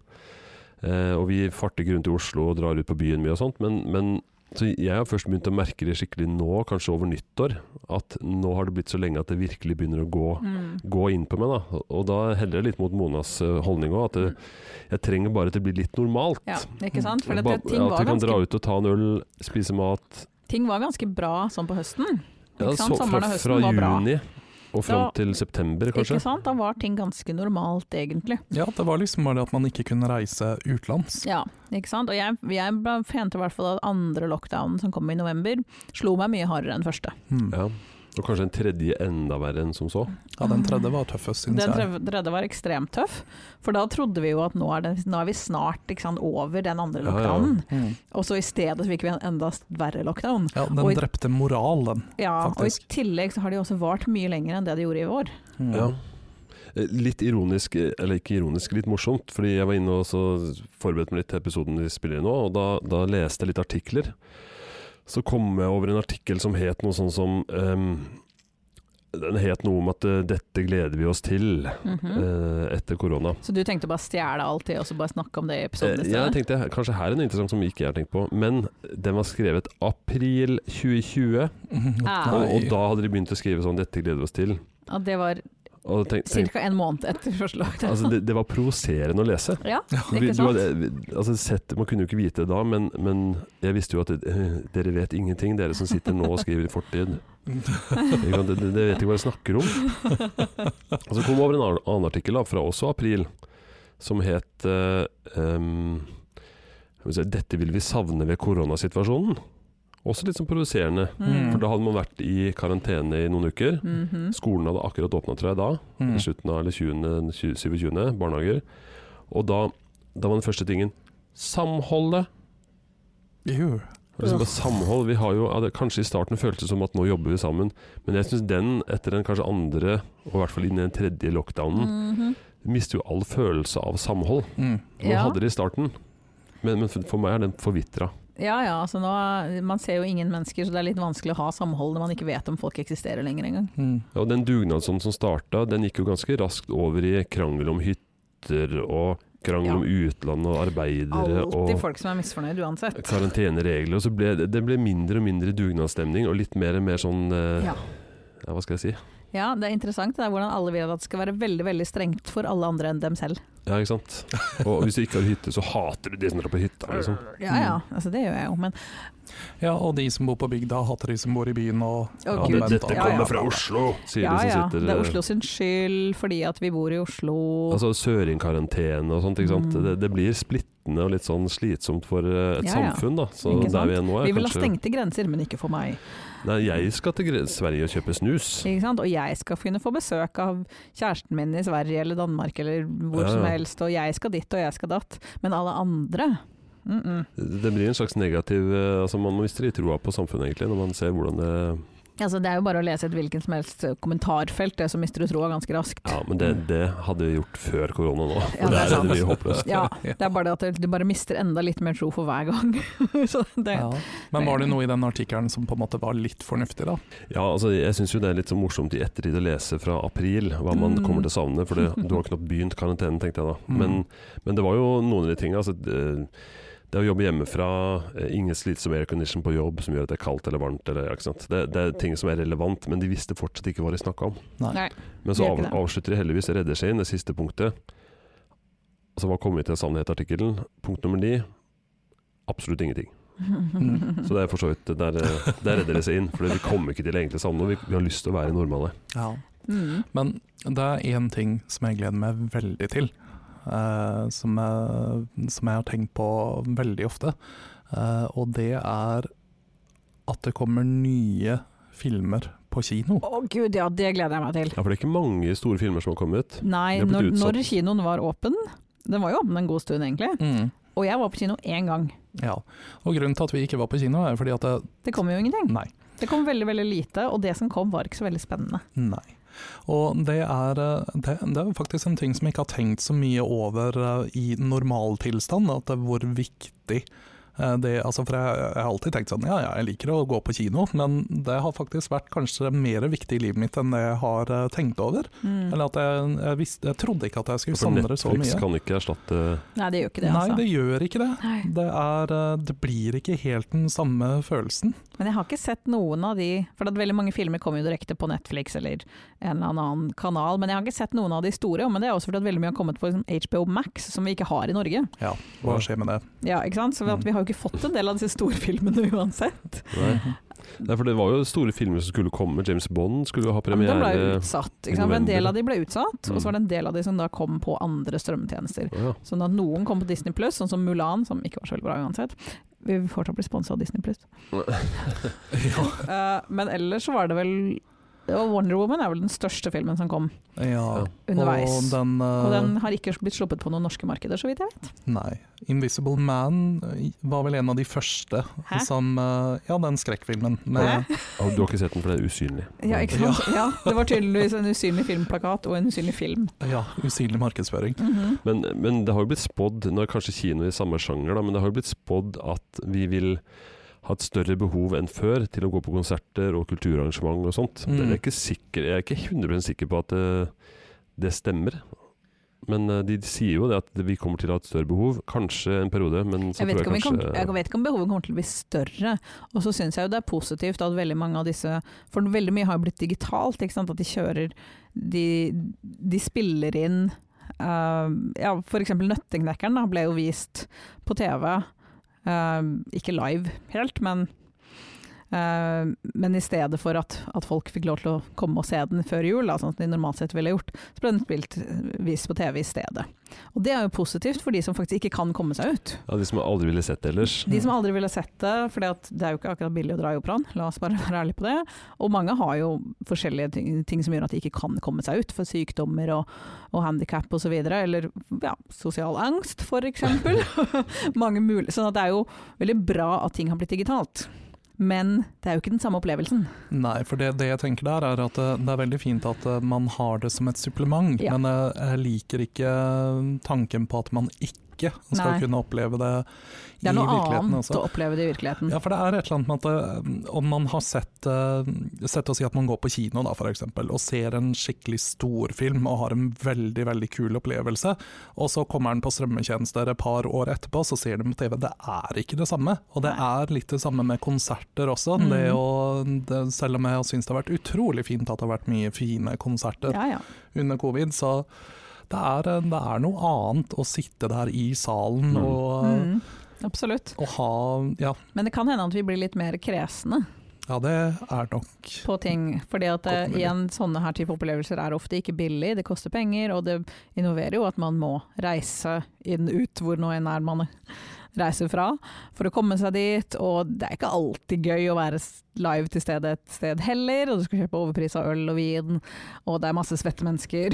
[SPEAKER 1] Eh, og vi farter ikke rundt i Oslo og drar ut på byen mye og sånt, men, men så jeg har først begynt å merke det skikkelig nå, kanskje over nyttår, at nå har det blitt så lenge at det virkelig begynner å gå
[SPEAKER 3] Mm.
[SPEAKER 1] gå inn på meg. da Og da heller jeg litt mot Monas eh, holdning òg, at det, jeg trenger bare at det blir litt normalt.
[SPEAKER 3] Mm. Ja, ikke sant? For
[SPEAKER 1] Ba-
[SPEAKER 3] dette, ting,
[SPEAKER 1] at
[SPEAKER 3] var
[SPEAKER 1] vi kan dra
[SPEAKER 3] ganske,
[SPEAKER 1] ut og ta en øl, spise mat.
[SPEAKER 3] ting var ganske bra sånn på høsten. Ikke sant?
[SPEAKER 1] så-
[SPEAKER 3] Sommeren og høsten
[SPEAKER 1] fra
[SPEAKER 3] var bra.
[SPEAKER 1] juni og fram
[SPEAKER 3] Da-
[SPEAKER 1] til september, kanskje.
[SPEAKER 3] Ikke sant? Da var ting ganske normalt, egentlig.
[SPEAKER 2] Ja, det var liksom bare det at man ikke kunne reise utenlands.
[SPEAKER 3] Ja, ikke sant? Og jeg, jeg ble- mente i hvert fall at andre lockdownen som kom i november, slo meg mye hardere enn første.
[SPEAKER 2] Mm.
[SPEAKER 1] Ja. Og kanskje en tredje enda verre enn som så.
[SPEAKER 2] Ja, den tredje var tøffest, syns
[SPEAKER 3] Den
[SPEAKER 2] jeg.
[SPEAKER 3] tre- tredje var ekstremt tøff, for da trodde vi jo at nå er, det, nå er vi snart ikke sant, over den andre
[SPEAKER 1] Ja, ja.
[SPEAKER 3] lockdownen.
[SPEAKER 2] Mm.
[SPEAKER 3] Og så i stedet fikk vi en enda verre lockdown.
[SPEAKER 2] Ja,
[SPEAKER 3] Og i-
[SPEAKER 2] den drepte moral, den.
[SPEAKER 3] Ja,
[SPEAKER 2] Faktisk.
[SPEAKER 3] Og i tillegg så har de også vart mye lenger enn det de gjorde i vår.
[SPEAKER 2] Mm.
[SPEAKER 1] Ja. Eh, Litt ironisk, eh, eller ikke ironisk, litt morsomt. Fordi jeg var inne og så forberedte meg litt til episoden vi spiller i nå, og da, da leste jeg litt artikler. Så kom jeg over en artikkel som het noe sånn som ehm, Den het noe om at eh, 'dette gleder vi oss til'
[SPEAKER 3] Mhm.
[SPEAKER 1] eh, etter korona.
[SPEAKER 3] Så du tenkte bare stjele alt det, og så bare snakke om Sånn, det i
[SPEAKER 1] Eh,
[SPEAKER 3] episoden i
[SPEAKER 1] jeg
[SPEAKER 3] stedet?
[SPEAKER 1] tenkte kanskje her er noe interessant som ikke jeg har tenkt på, men den var skrevet april 2020,
[SPEAKER 2] Mm.
[SPEAKER 3] Ah.
[SPEAKER 1] og,
[SPEAKER 2] Nei.
[SPEAKER 1] og da hadde de begynt å skrive sånn 'dette gleder vi oss til'.
[SPEAKER 3] Ja, det var
[SPEAKER 1] Og da tenk, tenk,
[SPEAKER 3] ca. en måned etter første lockdown.
[SPEAKER 1] altså, det, det var provoserende å lese.
[SPEAKER 3] ja,
[SPEAKER 1] Vi,
[SPEAKER 3] ikke
[SPEAKER 1] du
[SPEAKER 3] sant?
[SPEAKER 1] hadde, vi- altså sett, man kunne jo ikke vite det da, men, men jeg visste jo at det, eh, dere vet ingenting, dere som sitter nå og skriver i fortid. Ikke sant? Dere dere vet ikke hva dere snakker om. Og så kom over en annen- annen artikkel da, fra også april, som het eh, em, skal vi se, 'Dette vil vi savne ved koronasituasjonen'. Også litt sånn provoserende.
[SPEAKER 2] Mm.
[SPEAKER 1] For da hadde man vært i karantene i noen uker.
[SPEAKER 3] Mhm.
[SPEAKER 1] Skolen hadde akkurat åpna, tror jeg, da.
[SPEAKER 2] Mm.
[SPEAKER 1] I slutten av eller 20, 20, 27. barnehager. Og da, da var den første tingen samholdet.
[SPEAKER 2] Jo.
[SPEAKER 1] Og Liksom bare samhold. Vi har jo, ja, det, kanskje i starten føltes det som at nå jobber vi sammen, men jeg syns den, etter den kanskje andre, og i hvert fall inn i den tredje lockdownen,
[SPEAKER 3] Mhm.
[SPEAKER 1] mister jo all følelse av samhold. Man
[SPEAKER 2] Mm.
[SPEAKER 3] Ja.
[SPEAKER 1] hadde det i starten, men, men for for meg er den forvitra.
[SPEAKER 3] Ja ja, altså nå, er- man ser jo ingen mennesker, så det er litt vanskelig å ha samhold når man ikke vet om folk eksisterer lenger engang.
[SPEAKER 2] Mm.
[SPEAKER 1] Ja, og den dugnadsånden som starta, den gikk jo ganske raskt over i krangel om hytter og krangel
[SPEAKER 3] Ja.
[SPEAKER 1] om utlandet og arbeidere
[SPEAKER 3] Alltid
[SPEAKER 1] og
[SPEAKER 3] folk som er misfornøyd uansett.
[SPEAKER 1] karanteneregler. Og så ble det, det ble mindre og mindre dugnadsstemning og litt mer, mer sånn eh,
[SPEAKER 3] Ja.
[SPEAKER 1] ja. hva skal jeg si?
[SPEAKER 3] Ja, det er interessant det er hvordan alle vil at det skal være veldig veldig strengt for alle andre enn dem selv.
[SPEAKER 1] Ja, ikke sant? Og hvis du ikke har hytte, så hater du de som drar på hytta, liksom.
[SPEAKER 3] Ja ja, altså det gjør jeg jo, men
[SPEAKER 2] Ja, og de som bor på bygda, hater de som bor i byen. Og
[SPEAKER 3] Å,
[SPEAKER 1] Ja,
[SPEAKER 3] Gud.
[SPEAKER 1] det,
[SPEAKER 2] omvendt,
[SPEAKER 1] dette
[SPEAKER 2] og-
[SPEAKER 3] Ja, ja.
[SPEAKER 1] kommer fra Oslo, sier
[SPEAKER 3] ja
[SPEAKER 1] de
[SPEAKER 3] ja,
[SPEAKER 1] som sitter
[SPEAKER 3] det er
[SPEAKER 1] eh,
[SPEAKER 3] Oslo sin skyld fordi at vi bor i Oslo.
[SPEAKER 1] Altså Søringkarantene og sånt. ikke sant?
[SPEAKER 3] Mm.
[SPEAKER 1] Det, det blir splittende og litt sånn slitsomt for eh, et
[SPEAKER 3] Ja, ja.
[SPEAKER 1] samfunn. da. Så
[SPEAKER 3] Ikke sant?
[SPEAKER 1] der vi er nå er
[SPEAKER 3] vi vil ha
[SPEAKER 1] kanskje-
[SPEAKER 3] stengte grenser, men ikke for meg.
[SPEAKER 1] Nei, jeg skal til Gre- Sverige og kjøpe snus.
[SPEAKER 3] Ikke sant? Og jeg skal kunne få besøk av kjæresten min i Sverige eller Danmark eller hvor
[SPEAKER 1] Ja, ja.
[SPEAKER 3] som helst, og jeg skal ditt og jeg skal datt. Men alle andre mm -mm.
[SPEAKER 1] Det blir en slags negativ eh, altså Man mister litt troa på samfunnet, egentlig, når man ser hvordan det
[SPEAKER 3] Altså, det er jo bare å lese et hvilken som helst eh, kommentarfelt, det som mister du troa ganske raskt.
[SPEAKER 1] Ja, men det, det hadde vi gjort før korona nå.
[SPEAKER 3] Ja,
[SPEAKER 1] For
[SPEAKER 3] det
[SPEAKER 1] det
[SPEAKER 3] er
[SPEAKER 1] er det
[SPEAKER 3] sant.
[SPEAKER 1] mye håpløst.
[SPEAKER 3] Ja, det er bare det at du bare mister enda litt mer tro for hver gang. Så det,
[SPEAKER 2] Ja. Men var det noe i den artikkelen som på en måte var litt fornuftig, da?
[SPEAKER 1] Ja, altså, jeg syns jo det er litt så morsomt i ettertid å lese fra april hva man
[SPEAKER 3] Mm.
[SPEAKER 1] kommer til å savne, for det, du har knapt begynt karantenen, tenkte jeg da.
[SPEAKER 2] Mm.
[SPEAKER 1] Men, men det var jo noen av de tinga. Altså, det, det å jobbe hjemmefra, eh, ingen slitsom aircondition på jobb som gjør at det er kaldt eller varmt, eller, ja, ikke sant? Det, det er ting som er relevant, men de visste fortsatt ikke hva de snakka om.
[SPEAKER 3] Nei,
[SPEAKER 1] men så
[SPEAKER 3] det er
[SPEAKER 1] av,
[SPEAKER 3] ikke det.
[SPEAKER 1] avslutter de heldigvis og redder seg inn, det siste punktet. Altså, Som har kommet til sannhet i artikkelen. Punkt nummer ni absolutt ingenting. Mm. Så det er for så vidt der, eh, der redder de seg inn, for vi kommer ikke til egentlig savne noe. Vi, vi har lyst til å være normale.
[SPEAKER 2] Ja.
[SPEAKER 3] Mm.
[SPEAKER 2] Men det er én ting som jeg gleder meg veldig til, eh, som, jeg, som jeg har tenkt på veldig ofte. eh, og det er at det kommer nye filmer på kino.
[SPEAKER 3] Å gud, ja, det gleder jeg meg til.
[SPEAKER 1] Ja, for det er ikke mange store filmer som har kommet.
[SPEAKER 3] Nei,
[SPEAKER 1] Det har
[SPEAKER 3] når,
[SPEAKER 1] blitt utsatt.
[SPEAKER 3] når kinoen var åpen, den var jo åpen en god stund egentlig,
[SPEAKER 2] Mm,
[SPEAKER 3] og jeg var på kino én gang.
[SPEAKER 2] ja. Og grunnen til at vi ikke var på kino, er fordi at det,
[SPEAKER 3] Det kom jo ingenting.
[SPEAKER 2] Nei.
[SPEAKER 3] Det kom veldig, veldig lite, og det som kom var ikke så veldig spennende.
[SPEAKER 2] Nei. Og det er, eh, det, det er faktisk en ting som jeg ikke har tenkt så mye over eh, i normaltilstand, at det er hvor viktig eh, det altså For jeg, jeg har alltid tenkt sånn ja, ja, jeg liker å gå på kino, men det har faktisk vært kanskje mer viktig i livet mitt enn det jeg har eh, tenkt over.
[SPEAKER 3] Mm.
[SPEAKER 2] Eller at jeg, jeg, visste, jeg trodde ikke at jeg skulle
[SPEAKER 1] For
[SPEAKER 2] savne det så
[SPEAKER 1] Netflix
[SPEAKER 2] mye.
[SPEAKER 1] kan ikke erstatte
[SPEAKER 3] Nei, det gjør ikke det,
[SPEAKER 2] Nei,
[SPEAKER 3] altså.
[SPEAKER 2] det gjør ikke det.
[SPEAKER 3] Nei.
[SPEAKER 2] Det, er, eh, det blir ikke helt den samme følelsen.
[SPEAKER 3] Men jeg har ikke sett noen av de, for at veldig mange filmer kommer jo direkte på Netflix eller en eller annen kanal, men jeg har ikke sett noen av de store, men det er også fordi at veldig mye har kommet på liksom, HBO Max, som vi ikke har i Norge.
[SPEAKER 2] Ja, hva skjer med det?
[SPEAKER 3] Ja, ikke sant? Så vi- at
[SPEAKER 2] Mm.
[SPEAKER 3] vi har jo ikke fått en del av disse storfilmene uansett.
[SPEAKER 1] Nei.
[SPEAKER 3] Mhm.
[SPEAKER 1] Nei, for det var jo store filmer som skulle komme. James Bond skulle jo ha
[SPEAKER 3] Ja, men de
[SPEAKER 1] premiere.
[SPEAKER 3] ble jo utsatt, ikke sant? for en
[SPEAKER 1] november.
[SPEAKER 3] del av de ble utsatt, og
[SPEAKER 1] Mm.
[SPEAKER 3] så var det en del av de som da kom på andre strømmetjenester.
[SPEAKER 1] Å, ja.
[SPEAKER 3] Sånn at noen kom på Disney Pluss, sånn som Mulan, som ikke var så veldig bra uansett. Vi får fortsatt bli sponsa av Disney Pluss. Eh, men ellers så var det vel og Wonder Woman er vel den største filmen som kom
[SPEAKER 2] Ja.
[SPEAKER 3] underveis.
[SPEAKER 2] Og den, eh,
[SPEAKER 3] Og den har ikke blitt sluppet på noen norske markeder, så vidt jeg vet.
[SPEAKER 2] Nei. 'Invisible Man' eh, var vel en av de første
[SPEAKER 3] Hæ?
[SPEAKER 2] som eh, Ja, den skrekkfilmen.
[SPEAKER 3] Hæ?
[SPEAKER 2] Med,
[SPEAKER 1] Å, Du har ikke sett den, for det er usynlig.
[SPEAKER 3] Ja, ikke sant? Ja, det var tydeligvis en usynlig filmplakat og en usynlig film.
[SPEAKER 2] ja, usynlig markedsføring.
[SPEAKER 3] Mhm.
[SPEAKER 1] Men, men det har jo blitt spådd, nå er kanskje kino i samme sjanger, da, men det har jo blitt spådd at vi vil ha et større behov enn før til å gå på konserter og kulturarrangement og sånt.
[SPEAKER 2] Mm.
[SPEAKER 1] Det er jeg ikke sikker, jeg er ikke 100 sikker på at eh, det stemmer. Men eh, de sier jo det at vi kommer til å ha et større behov, kanskje en periode, men Mm, så
[SPEAKER 3] Jeg vet, ikke
[SPEAKER 1] tror
[SPEAKER 3] om vi
[SPEAKER 1] jeg
[SPEAKER 3] kommer,
[SPEAKER 1] kanskje
[SPEAKER 3] jeg vet ikke om behovet kommer til å bli større. Og så syns jeg jo det er positivt at veldig mange av disse For veldig mye har jo blitt digitalt. Ikke sant? At de kjører De, de spiller inn uh, Ja, f.eks. Nøttingnekkeren da, ble jo vist på TV. eh, ikke live helt, men Eh, men i stedet for at, at folk fikk lov til å komme og se den før jul, da, sånn som de normalt sett ville gjort, så ble den spilt eh, vist på TV i stedet. Og det er jo positivt for de som faktisk ikke kan komme seg ut.
[SPEAKER 1] Ja, De som aldri ville sett det ellers.
[SPEAKER 3] De som aldri ville sett det, for det er jo ikke akkurat billig å dra i operaen, la oss bare være ærlige på det. Og mange har jo forskjellige ting, ting som gjør at de ikke kan komme seg ut, for sykdommer og, og handikap osv. Eller ja, sosial angst, f.eks. mange mulig, sånn at det er jo veldig bra at ting har blitt digitalt. Men det er jo ikke den samme opplevelsen.
[SPEAKER 2] Nei, for det, det jeg tenker der er at eh, det er veldig fint at eh, man har det som et supplement,
[SPEAKER 3] Ja.
[SPEAKER 2] men jeg, jeg liker ikke eh, tanken på at man ikke skal
[SPEAKER 3] Nei.
[SPEAKER 2] kunne oppleve det,
[SPEAKER 3] Det
[SPEAKER 2] i
[SPEAKER 3] er noe
[SPEAKER 2] virkeligheten.
[SPEAKER 3] annet
[SPEAKER 2] Også.
[SPEAKER 3] å oppleve det i virkeligheten.
[SPEAKER 2] Ja, for det er et eller annet med at eh, om man har sett, eh, sett å si at man går på kino da, for eksempel, og ser en skikkelig stor film og har en veldig, veldig kul opplevelse, og så kommer den på strømmetjenester et par år etterpå, så ser den på TV. Det er ikke det samme. Og det er litt det samme med konserter også.
[SPEAKER 3] Mm.
[SPEAKER 2] Det å, det, selv om jeg syns det har vært utrolig fint at det har vært mye fine konserter
[SPEAKER 3] Ja, ja.
[SPEAKER 2] under covid, så det er, eh, det er noe annet å sitte der i salen
[SPEAKER 1] Mm.
[SPEAKER 2] og,
[SPEAKER 3] Mm, absolutt.
[SPEAKER 2] og ha ja,
[SPEAKER 3] Men det kan hende at vi blir litt mer kresne
[SPEAKER 2] ja, det er nok
[SPEAKER 3] på ting. fordi at eh,
[SPEAKER 2] Godt mulig.
[SPEAKER 3] igjen, sånne her type opplevelser er ofte ikke billig, det koster penger, og det innoverer jo at man må reise inn ut hvor nå enn er man reiser fra, for å komme seg dit. Og det er ikke alltid gøy å være s- live til stede et sted heller, og du skal kjøpe overprisa øl og vin, og det er masse svette mennesker.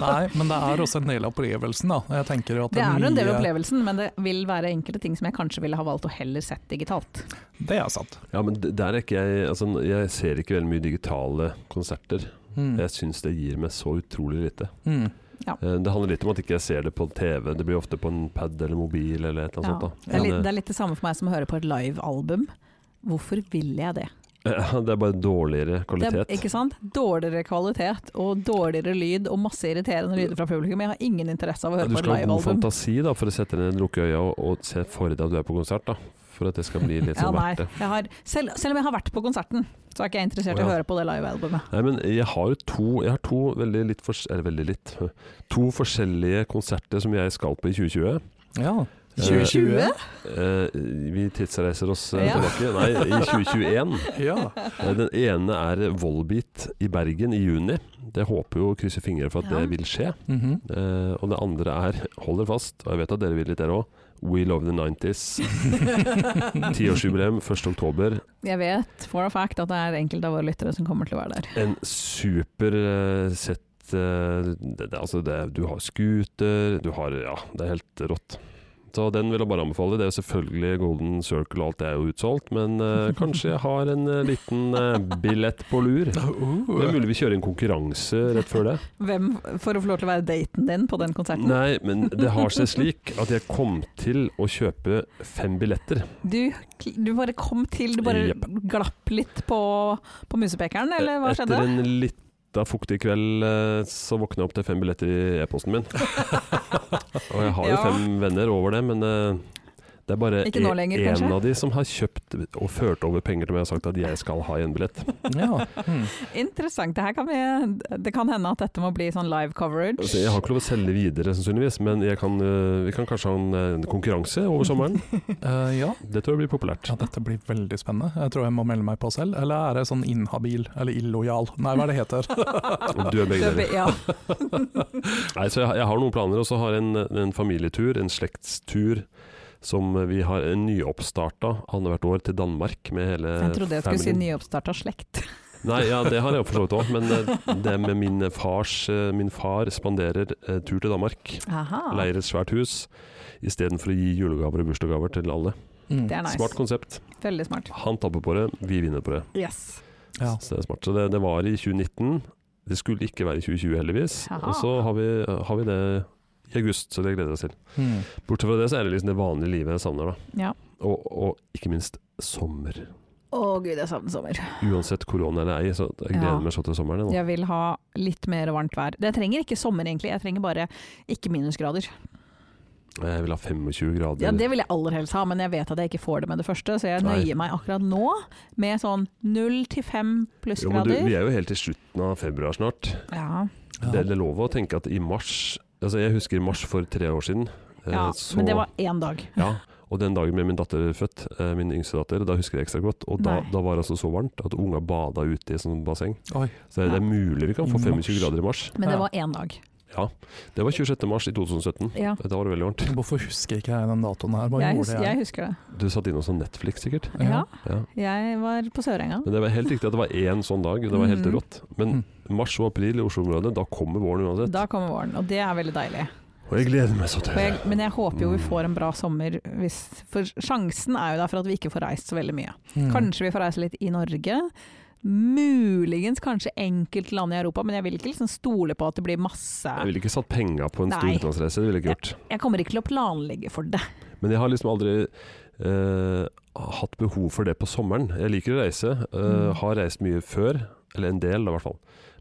[SPEAKER 2] Nei, men det er også en del av opplevelsen, da. Jeg tenker jo at
[SPEAKER 3] Det er jo en del av
[SPEAKER 2] mye-
[SPEAKER 3] opplevelsen, men det vil være enkelte ting som jeg kanskje ville ha valgt å heller sett digitalt.
[SPEAKER 2] Det er sant.
[SPEAKER 1] Ja, men d- der er ikke jeg Altså, jeg ser ikke veldig mye digitale konserter.
[SPEAKER 2] Mm.
[SPEAKER 1] Jeg syns det gir meg så utrolig lite.
[SPEAKER 2] Mm.
[SPEAKER 1] Eh, Det handler litt om at ikke jeg ser det på TV. Det blir ofte på en pad eller mobil eller et eller
[SPEAKER 3] Ja.
[SPEAKER 1] annet sånt.
[SPEAKER 3] Det, er
[SPEAKER 1] Da.
[SPEAKER 3] litt,
[SPEAKER 1] Men,
[SPEAKER 3] det er litt det samme for meg som å høre på et livealbum. Hvorfor vil jeg det?
[SPEAKER 1] eh, det er bare dårligere
[SPEAKER 3] det
[SPEAKER 1] kvalitet.
[SPEAKER 3] er, ikke sant? Dårligere kvalitet og dårligere lyd og masse irriterende lyder fra publikum. Jeg har ingen interesse av å
[SPEAKER 1] Ja,
[SPEAKER 3] høre
[SPEAKER 1] Du
[SPEAKER 3] på et
[SPEAKER 1] skal ha god
[SPEAKER 3] livealbum.
[SPEAKER 1] fantasi da, for å sette ned, lukke øya og, og se for deg at du er på konsert. da For at det skal bli litt
[SPEAKER 3] Ja,
[SPEAKER 1] sånn
[SPEAKER 3] nei,
[SPEAKER 1] verdt det.
[SPEAKER 3] jeg har, selv, selv om jeg har vært på konserten, så er ikke jeg interessert i
[SPEAKER 1] Å,
[SPEAKER 3] å
[SPEAKER 1] ja.
[SPEAKER 3] høre på det livealbumet.
[SPEAKER 1] Nei, men jeg har jo to, jeg har to veldig litt fors eller veldig litt To forskjellige konserter som jeg skal på i 2020.
[SPEAKER 2] Ja.
[SPEAKER 1] Eh,
[SPEAKER 3] 2020?
[SPEAKER 1] Eh, vi tidsreiser oss eh,
[SPEAKER 3] Ja.
[SPEAKER 1] tilbake. Nei, i 2021.
[SPEAKER 2] Ja.
[SPEAKER 1] Eh, Den ene er Volbeat i Bergen i juni. Det håper jo å krysse fingre for at
[SPEAKER 3] Ja.
[SPEAKER 1] det vil skje.
[SPEAKER 2] Mhm.
[SPEAKER 1] Eh, og det andre er, holder fast, og jeg vet at dere vil litt dere òg, We Love the 90s. Tiårsjubileum 1.10.
[SPEAKER 3] Jeg vet for a fact at det er enkelte av våre lyttere som kommer til å være der.
[SPEAKER 1] En super eh, sett eh, det, det, altså det, Du har scooter, du har Ja, det er helt rått. Så den vil jeg bare anbefale. Det er jo selvfølgelig Golden Circle og alt det er jo utsolgt, men eh, kanskje jeg har en eh, liten eh, billett på lur. Det er
[SPEAKER 2] Uh.
[SPEAKER 1] mulig vi kjører en konkurranse rett før det.
[SPEAKER 3] Hvem for å få lov til å være daten din på den konserten?
[SPEAKER 1] Nei, men det har seg slik at jeg kom til å kjøpe fem billetter.
[SPEAKER 3] Du, du bare kom til, du bare
[SPEAKER 1] Jepp.
[SPEAKER 3] glapp litt på, på musepekeren, eller hva skjedde?
[SPEAKER 1] Etter en lita fuktig kveld eh, så våkna jeg opp til fem billetter i e-posten min. Og jeg har jo
[SPEAKER 3] Ja.
[SPEAKER 1] fem venner over det, men eh, det er bare
[SPEAKER 3] Ikke nå lenger,
[SPEAKER 1] en
[SPEAKER 3] kanskje?
[SPEAKER 1] av de som har kjøpt og ført over penger til meg og sagt at jeg skal ha en billett.
[SPEAKER 2] Ja. Mm.
[SPEAKER 3] Interessant. Det, her kan vi, det kan hende at dette må bli sånn live coverage.
[SPEAKER 1] Så Altså, jeg har ikke lov å selge videre sannsynligvis, men jeg kan, eh, vi kan kanskje ha en, eh, en konkurranse over sommeren.
[SPEAKER 2] Eh, ja.
[SPEAKER 1] Det tror jeg blir populært.
[SPEAKER 2] ja, dette blir veldig spennende. Jeg tror jeg må melde meg på selv. Eller er jeg sånn inhabil, eller illojal? Nei, hva er det heter?
[SPEAKER 1] Du er begge deler.
[SPEAKER 3] Ja.
[SPEAKER 1] Nei, så jeg, jeg har noen planer, og så har jeg en, en familietur, en slektstur, som vi har en nyoppstarta annethvert år til Danmark med hele
[SPEAKER 3] Jeg trodde jeg skulle si
[SPEAKER 1] familien.
[SPEAKER 3] nyoppstarta slekt.
[SPEAKER 1] Nei, ja, det har jeg jo for så vidt òg, men eh, det med min fars eh, Min far spanderer eh, tur til Danmark.
[SPEAKER 3] Aha.
[SPEAKER 1] Leier et svært hus istedenfor å gi julegaver og bursdagsgaver til alle.
[SPEAKER 2] Mm.
[SPEAKER 3] Det er nice.
[SPEAKER 1] Smart konsept.
[SPEAKER 3] Veldig smart.
[SPEAKER 1] Han taper på det, vi vinner på det.
[SPEAKER 3] Yes.
[SPEAKER 2] Ja.
[SPEAKER 1] Så det er smart. Så det, det var i 2019. Det skulle ikke være i 2020, heldigvis.
[SPEAKER 3] Jaha.
[SPEAKER 1] Og så har vi, har vi det i august, så det gleder vi oss til.
[SPEAKER 2] Mm.
[SPEAKER 1] Bortsett fra det, så er det liksom det vanlige livet jeg savner, da.
[SPEAKER 3] Ja.
[SPEAKER 1] Og, og ikke minst sommer.
[SPEAKER 3] Å gud, jeg savner sommer.
[SPEAKER 1] Uansett korona eller ei, så jeg gleder
[SPEAKER 3] Ja.
[SPEAKER 1] meg så til sommeren. jeg,
[SPEAKER 3] Jeg vil ha litt mer varmt vær. Jeg trenger ikke sommer egentlig, jeg trenger bare ikke minusgrader.
[SPEAKER 1] Nå. Jeg vil ha 25 grader.
[SPEAKER 3] Ja, Det vil jeg aller helst ha, men jeg vet at jeg ikke får det med det første, så jeg
[SPEAKER 1] Nei.
[SPEAKER 3] nøyer meg akkurat nå med sånn null til fem
[SPEAKER 1] jo, men du,
[SPEAKER 3] plussgrader.
[SPEAKER 1] vi er jo helt til slutten av februar snart.
[SPEAKER 3] Ja,
[SPEAKER 1] Det
[SPEAKER 2] Ja.
[SPEAKER 1] er det lov å tenke at i mars Altså, jeg husker i mars for tre år siden. eh,
[SPEAKER 3] ja.
[SPEAKER 1] så-
[SPEAKER 3] Men det var én dag.
[SPEAKER 1] ja, Og den dagen med min datter er født, eh, min yngste datter, da husker jeg ekstra godt. Og da,
[SPEAKER 3] Nei.
[SPEAKER 1] da var det altså så varmt at unga bada ute i sånn basseng.
[SPEAKER 2] Oi.
[SPEAKER 1] Så det, det er mulig vi kan få
[SPEAKER 2] I
[SPEAKER 1] 25
[SPEAKER 2] mars.
[SPEAKER 1] grader i mars.
[SPEAKER 3] Men det
[SPEAKER 2] Ja.
[SPEAKER 3] var én dag.
[SPEAKER 1] Det var 26. mars i 2017.
[SPEAKER 3] Ja.
[SPEAKER 1] Eh, Da var det veldig varmt.
[SPEAKER 2] Hvorfor husker ikke jeg den datoen her? Hva
[SPEAKER 3] Jeg, hus
[SPEAKER 2] gjorde
[SPEAKER 3] jeg
[SPEAKER 2] jeg?
[SPEAKER 3] husker det.
[SPEAKER 1] Du satt inne og så Netflix sikkert.
[SPEAKER 3] Ja,
[SPEAKER 1] Ja.
[SPEAKER 3] jeg var på Sørenga.
[SPEAKER 1] Men det var helt riktig at det var én sånn dag. Det var helt
[SPEAKER 3] Mhm.
[SPEAKER 1] rått.
[SPEAKER 2] Mm.
[SPEAKER 1] Men mars og april i Oslo-området, da kommer våren uansett.
[SPEAKER 3] Da kommer våren, og det er veldig deilig.
[SPEAKER 1] Og jeg gleder meg så
[SPEAKER 3] Og
[SPEAKER 1] til det.
[SPEAKER 3] jeg, men jeg håper jo vi får en bra sommer, hvis, for sjansen er jo der for at vi ikke får reist så veldig mye.
[SPEAKER 2] Mm.
[SPEAKER 3] Kanskje vi får reise litt i Norge. Muligens kanskje enkelte land i Europa, men jeg vil ikke liksom stole på at det blir masse
[SPEAKER 1] Jeg ville ikke satt penga på en stor
[SPEAKER 3] Nei.
[SPEAKER 1] utenlandsreise. Det ville jeg ikke gjort.
[SPEAKER 3] Jeg kommer ikke til å planlegge for det.
[SPEAKER 1] Men jeg har liksom aldri eh, hatt behov for det på sommeren. Jeg liker å reise. eh,
[SPEAKER 2] Mm.
[SPEAKER 1] Har reist mye før, eller en del da, i hvert fall.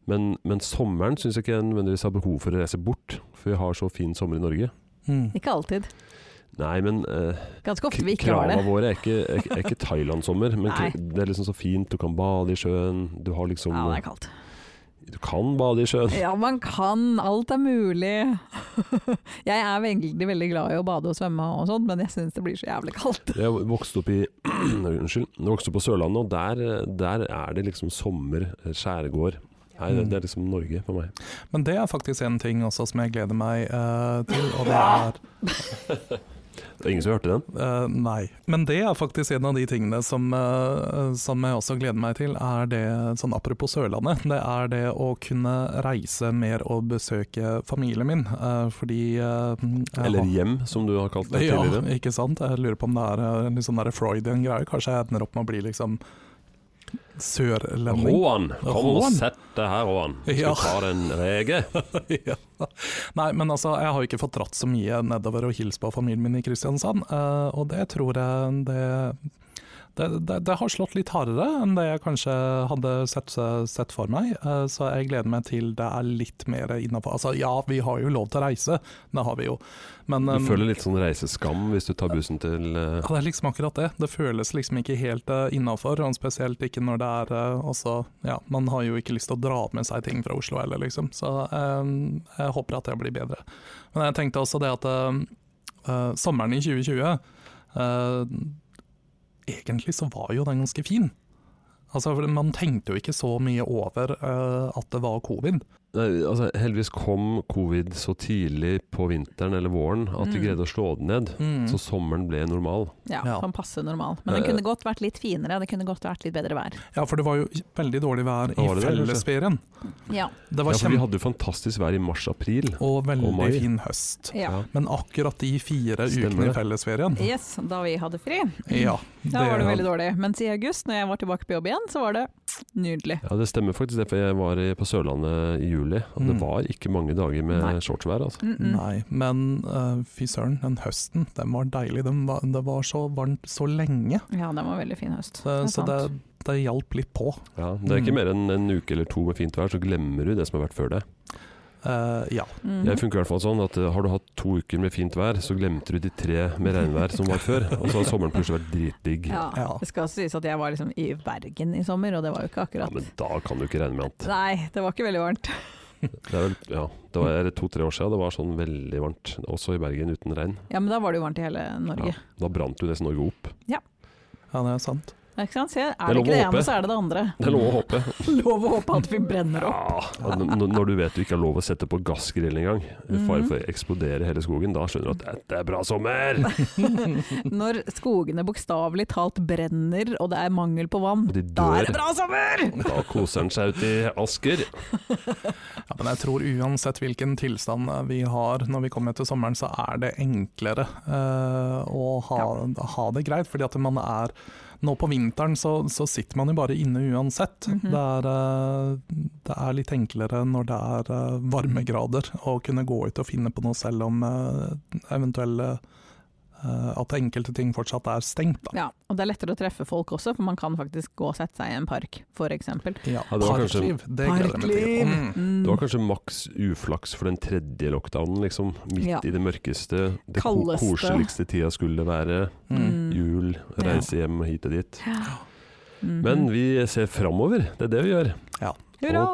[SPEAKER 1] Men, men sommeren syns jeg ikke jeg nødvendigvis har behov for å reise bort, for vi har så fin sommer i Norge.
[SPEAKER 2] Mm.
[SPEAKER 3] Ikke alltid.
[SPEAKER 1] Nei, men eh,
[SPEAKER 3] Ganske ofte vi
[SPEAKER 1] k-
[SPEAKER 3] ikke har
[SPEAKER 1] krava
[SPEAKER 3] det.
[SPEAKER 1] våre er ikke, er, ikke- er ikke Thailand-sommer, men
[SPEAKER 3] Nei.
[SPEAKER 1] k- det er liksom så fint. Du kan bade i sjøen. Du har liksom eh,
[SPEAKER 3] Ja, det er kaldt.
[SPEAKER 1] Du kan bade i sjøen.
[SPEAKER 3] Ja, man kan. Alt er mulig. Jeg er veldig, veldig glad i å bade og svømme og sånn, men jeg syns det blir så jævlig kaldt.
[SPEAKER 1] Jeg vokste opp i Unnskyld. Jeg vokste opp på Sørlandet, og der, der er det liksom sommer, skjærgård. Nei, det, det er liksom Norge for meg.
[SPEAKER 2] Men det er faktisk en ting også som jeg gleder meg eh, til, og det er
[SPEAKER 1] Det er ingen som hørte den.
[SPEAKER 2] Eh, nei. Men det er faktisk en av de tingene som, eh, som jeg også gleder meg til, er det sånn apropos Sørlandet, det er det å kunne reise mer og besøke familien min, eh, fordi eh, jeg
[SPEAKER 1] Eller
[SPEAKER 2] har-
[SPEAKER 1] hjem, som du har kalt det
[SPEAKER 2] ja,
[SPEAKER 1] tidligere.
[SPEAKER 2] ikke sant? Jeg lurer på om det er eh, en litt sånn der Freudian greie. Kanskje jeg ender opp med å bli liksom sørlending.
[SPEAKER 1] Roan, kom og
[SPEAKER 2] Roan?
[SPEAKER 1] sett deg her, Roan. Skal
[SPEAKER 2] Ja.
[SPEAKER 1] du ta den rege?
[SPEAKER 2] ja. Nei, men altså, jeg har jo ikke fått dratt så mye nedover og hilst på familien min i Kristiansand, eh, og det tror jeg det det, det, det har slått litt hardere enn det jeg kanskje hadde sett, sett for meg, eh, så jeg gleder meg til det er litt mer innafor. Altså ja, vi har jo lov til å reise, det har vi jo, men
[SPEAKER 1] Du
[SPEAKER 2] eh,
[SPEAKER 1] føler litt sånn reiseskam hvis du tar bussen til eh,
[SPEAKER 2] ja, det er liksom akkurat det. Det føles liksom ikke helt uh, innafor, og spesielt ikke når det er eh, også Ja, man har jo ikke lyst til å dra med seg ting fra Oslo heller, liksom. Så eh, jeg håper at det blir bedre. Men jeg tenkte også det at eh, eh, sommeren i 2020 eh, Egentlig så var jo den ganske fin. Altså, for Man tenkte jo ikke så mye over eh, at det var covid.
[SPEAKER 1] Nei, altså, Heldigvis kom covid så tidlig på vinteren eller våren at vi
[SPEAKER 3] Mm.
[SPEAKER 1] greide å slå det ned.
[SPEAKER 2] Mm.
[SPEAKER 1] Så sommeren ble normal.
[SPEAKER 3] Ja,
[SPEAKER 2] Ja.
[SPEAKER 3] Sånn passe normal. Men den
[SPEAKER 1] Eh,
[SPEAKER 3] kunne godt vært litt finere, det kunne godt vært litt bedre vær.
[SPEAKER 2] Ja, for det var jo veldig dårlig vær i
[SPEAKER 1] Var det det, eller?
[SPEAKER 2] fellesferien.
[SPEAKER 3] Ja.
[SPEAKER 2] Det
[SPEAKER 1] Ja,
[SPEAKER 2] var
[SPEAKER 1] for vi
[SPEAKER 2] kjempe...
[SPEAKER 1] hadde jo fantastisk vær i mars-april.
[SPEAKER 2] Og
[SPEAKER 1] Og
[SPEAKER 2] veldig
[SPEAKER 1] mai.
[SPEAKER 2] fin høst.
[SPEAKER 3] ja.
[SPEAKER 2] Men akkurat de fire
[SPEAKER 1] Stemmer
[SPEAKER 2] ukene
[SPEAKER 1] det.
[SPEAKER 2] i fellesferien
[SPEAKER 3] Yes, da vi hadde fri.
[SPEAKER 2] Ja,
[SPEAKER 3] Da var det veldig dårlig. Mens i august, når jeg var tilbake på jobb igjen, så var det nydelig.
[SPEAKER 1] Ja, Det stemmer faktisk, det, for jeg var i- på Sørlandet i juli, og det
[SPEAKER 2] Mm.
[SPEAKER 1] var ikke mange dager med
[SPEAKER 3] Nei.
[SPEAKER 1] shortsvær. altså.
[SPEAKER 3] Mm -mm.
[SPEAKER 2] Nei, men eh, fy søren, den høsten, den var deilig. Den var, det var så varmt så lenge,
[SPEAKER 3] Ja, den var veldig fin høst.
[SPEAKER 2] så,
[SPEAKER 3] er
[SPEAKER 2] så
[SPEAKER 3] sant.
[SPEAKER 2] det, det hjalp litt på.
[SPEAKER 1] Ja, det er ikke
[SPEAKER 2] Mm.
[SPEAKER 1] mer enn en uke eller to med fint vær, så glemmer du det som har vært før det.
[SPEAKER 2] Eh, ja.
[SPEAKER 3] Mhm.
[SPEAKER 1] Jeg funker i hvert fall sånn at eh, har du hatt to uker med fint vær, så glemte du de tre med regnvær som var før. Og så har sommeren plutselig vært dritdigg. Ja.
[SPEAKER 3] ja.
[SPEAKER 2] Ja.
[SPEAKER 3] Det skal sies at jeg var liksom i Bergen i sommer, og det var jo ikke akkurat
[SPEAKER 1] men da kan du ikke regne med annet.
[SPEAKER 3] Nei, det var ikke veldig varmt.
[SPEAKER 1] Det, er vel, ja, det var to-tre år siden det var sånn veldig varmt, også i Bergen uten regn.
[SPEAKER 3] Ja, Men da var det jo varmt i hele Norge.
[SPEAKER 1] Da brant jo nesten Norge opp.
[SPEAKER 2] ja, det er sant.
[SPEAKER 3] Ikke sant? Se, er
[SPEAKER 1] er
[SPEAKER 3] det
[SPEAKER 1] lov
[SPEAKER 3] ikke det
[SPEAKER 1] å håpe.
[SPEAKER 3] ene, så er det det andre.
[SPEAKER 1] Det er lov å håpe.
[SPEAKER 3] Lov å håpe at vi brenner opp.
[SPEAKER 1] Ja, n- n- når du vet du ikke har lov å sette på gassgrill engang, i
[SPEAKER 3] Mhm.
[SPEAKER 1] fare for å eksplodere hele skogen, da skjønner du at dette er bra sommer!
[SPEAKER 3] Når skogene bokstavelig talt brenner og det er mangel på vann,
[SPEAKER 1] Og de
[SPEAKER 3] da er det
[SPEAKER 1] dør.
[SPEAKER 3] bra sommer!
[SPEAKER 1] Da koser han seg ut i Asker.
[SPEAKER 2] Ja, men jeg tror uansett hvilken tilstand eh, vi har når vi kommer til sommeren, så er det enklere eh, å ha, ha det greit. Fordi at man er Nå på vinteren så, så sitter man jo bare inne uansett.
[SPEAKER 3] Mhm.
[SPEAKER 2] det, er, eh, det er litt enklere når det er eh, varmegrader å kunne gå ut og finne på noe selv om eh, eventuelle eh, at enkelte ting fortsatt er stengt. Da.
[SPEAKER 3] Ja, og det er lettere å treffe folk også, for man kan faktisk gå og sette seg i en park, f.eks.
[SPEAKER 2] Ja,
[SPEAKER 1] Ja, det var kanskje-
[SPEAKER 2] parkliv, det gleder jeg meg til. Mm.
[SPEAKER 1] Det var kanskje maks uflaks for den tredje lockdownen, liksom. Midt
[SPEAKER 3] Ja.
[SPEAKER 1] i det mørkeste, det ko-
[SPEAKER 3] Kaldeste.
[SPEAKER 1] koseligste tida skulle være.
[SPEAKER 2] Mm.
[SPEAKER 1] Jul, reise hjem hit og dit.
[SPEAKER 2] Mm.
[SPEAKER 3] Mhm.
[SPEAKER 1] Men vi ser framover, det er det vi gjør.
[SPEAKER 3] Hurra!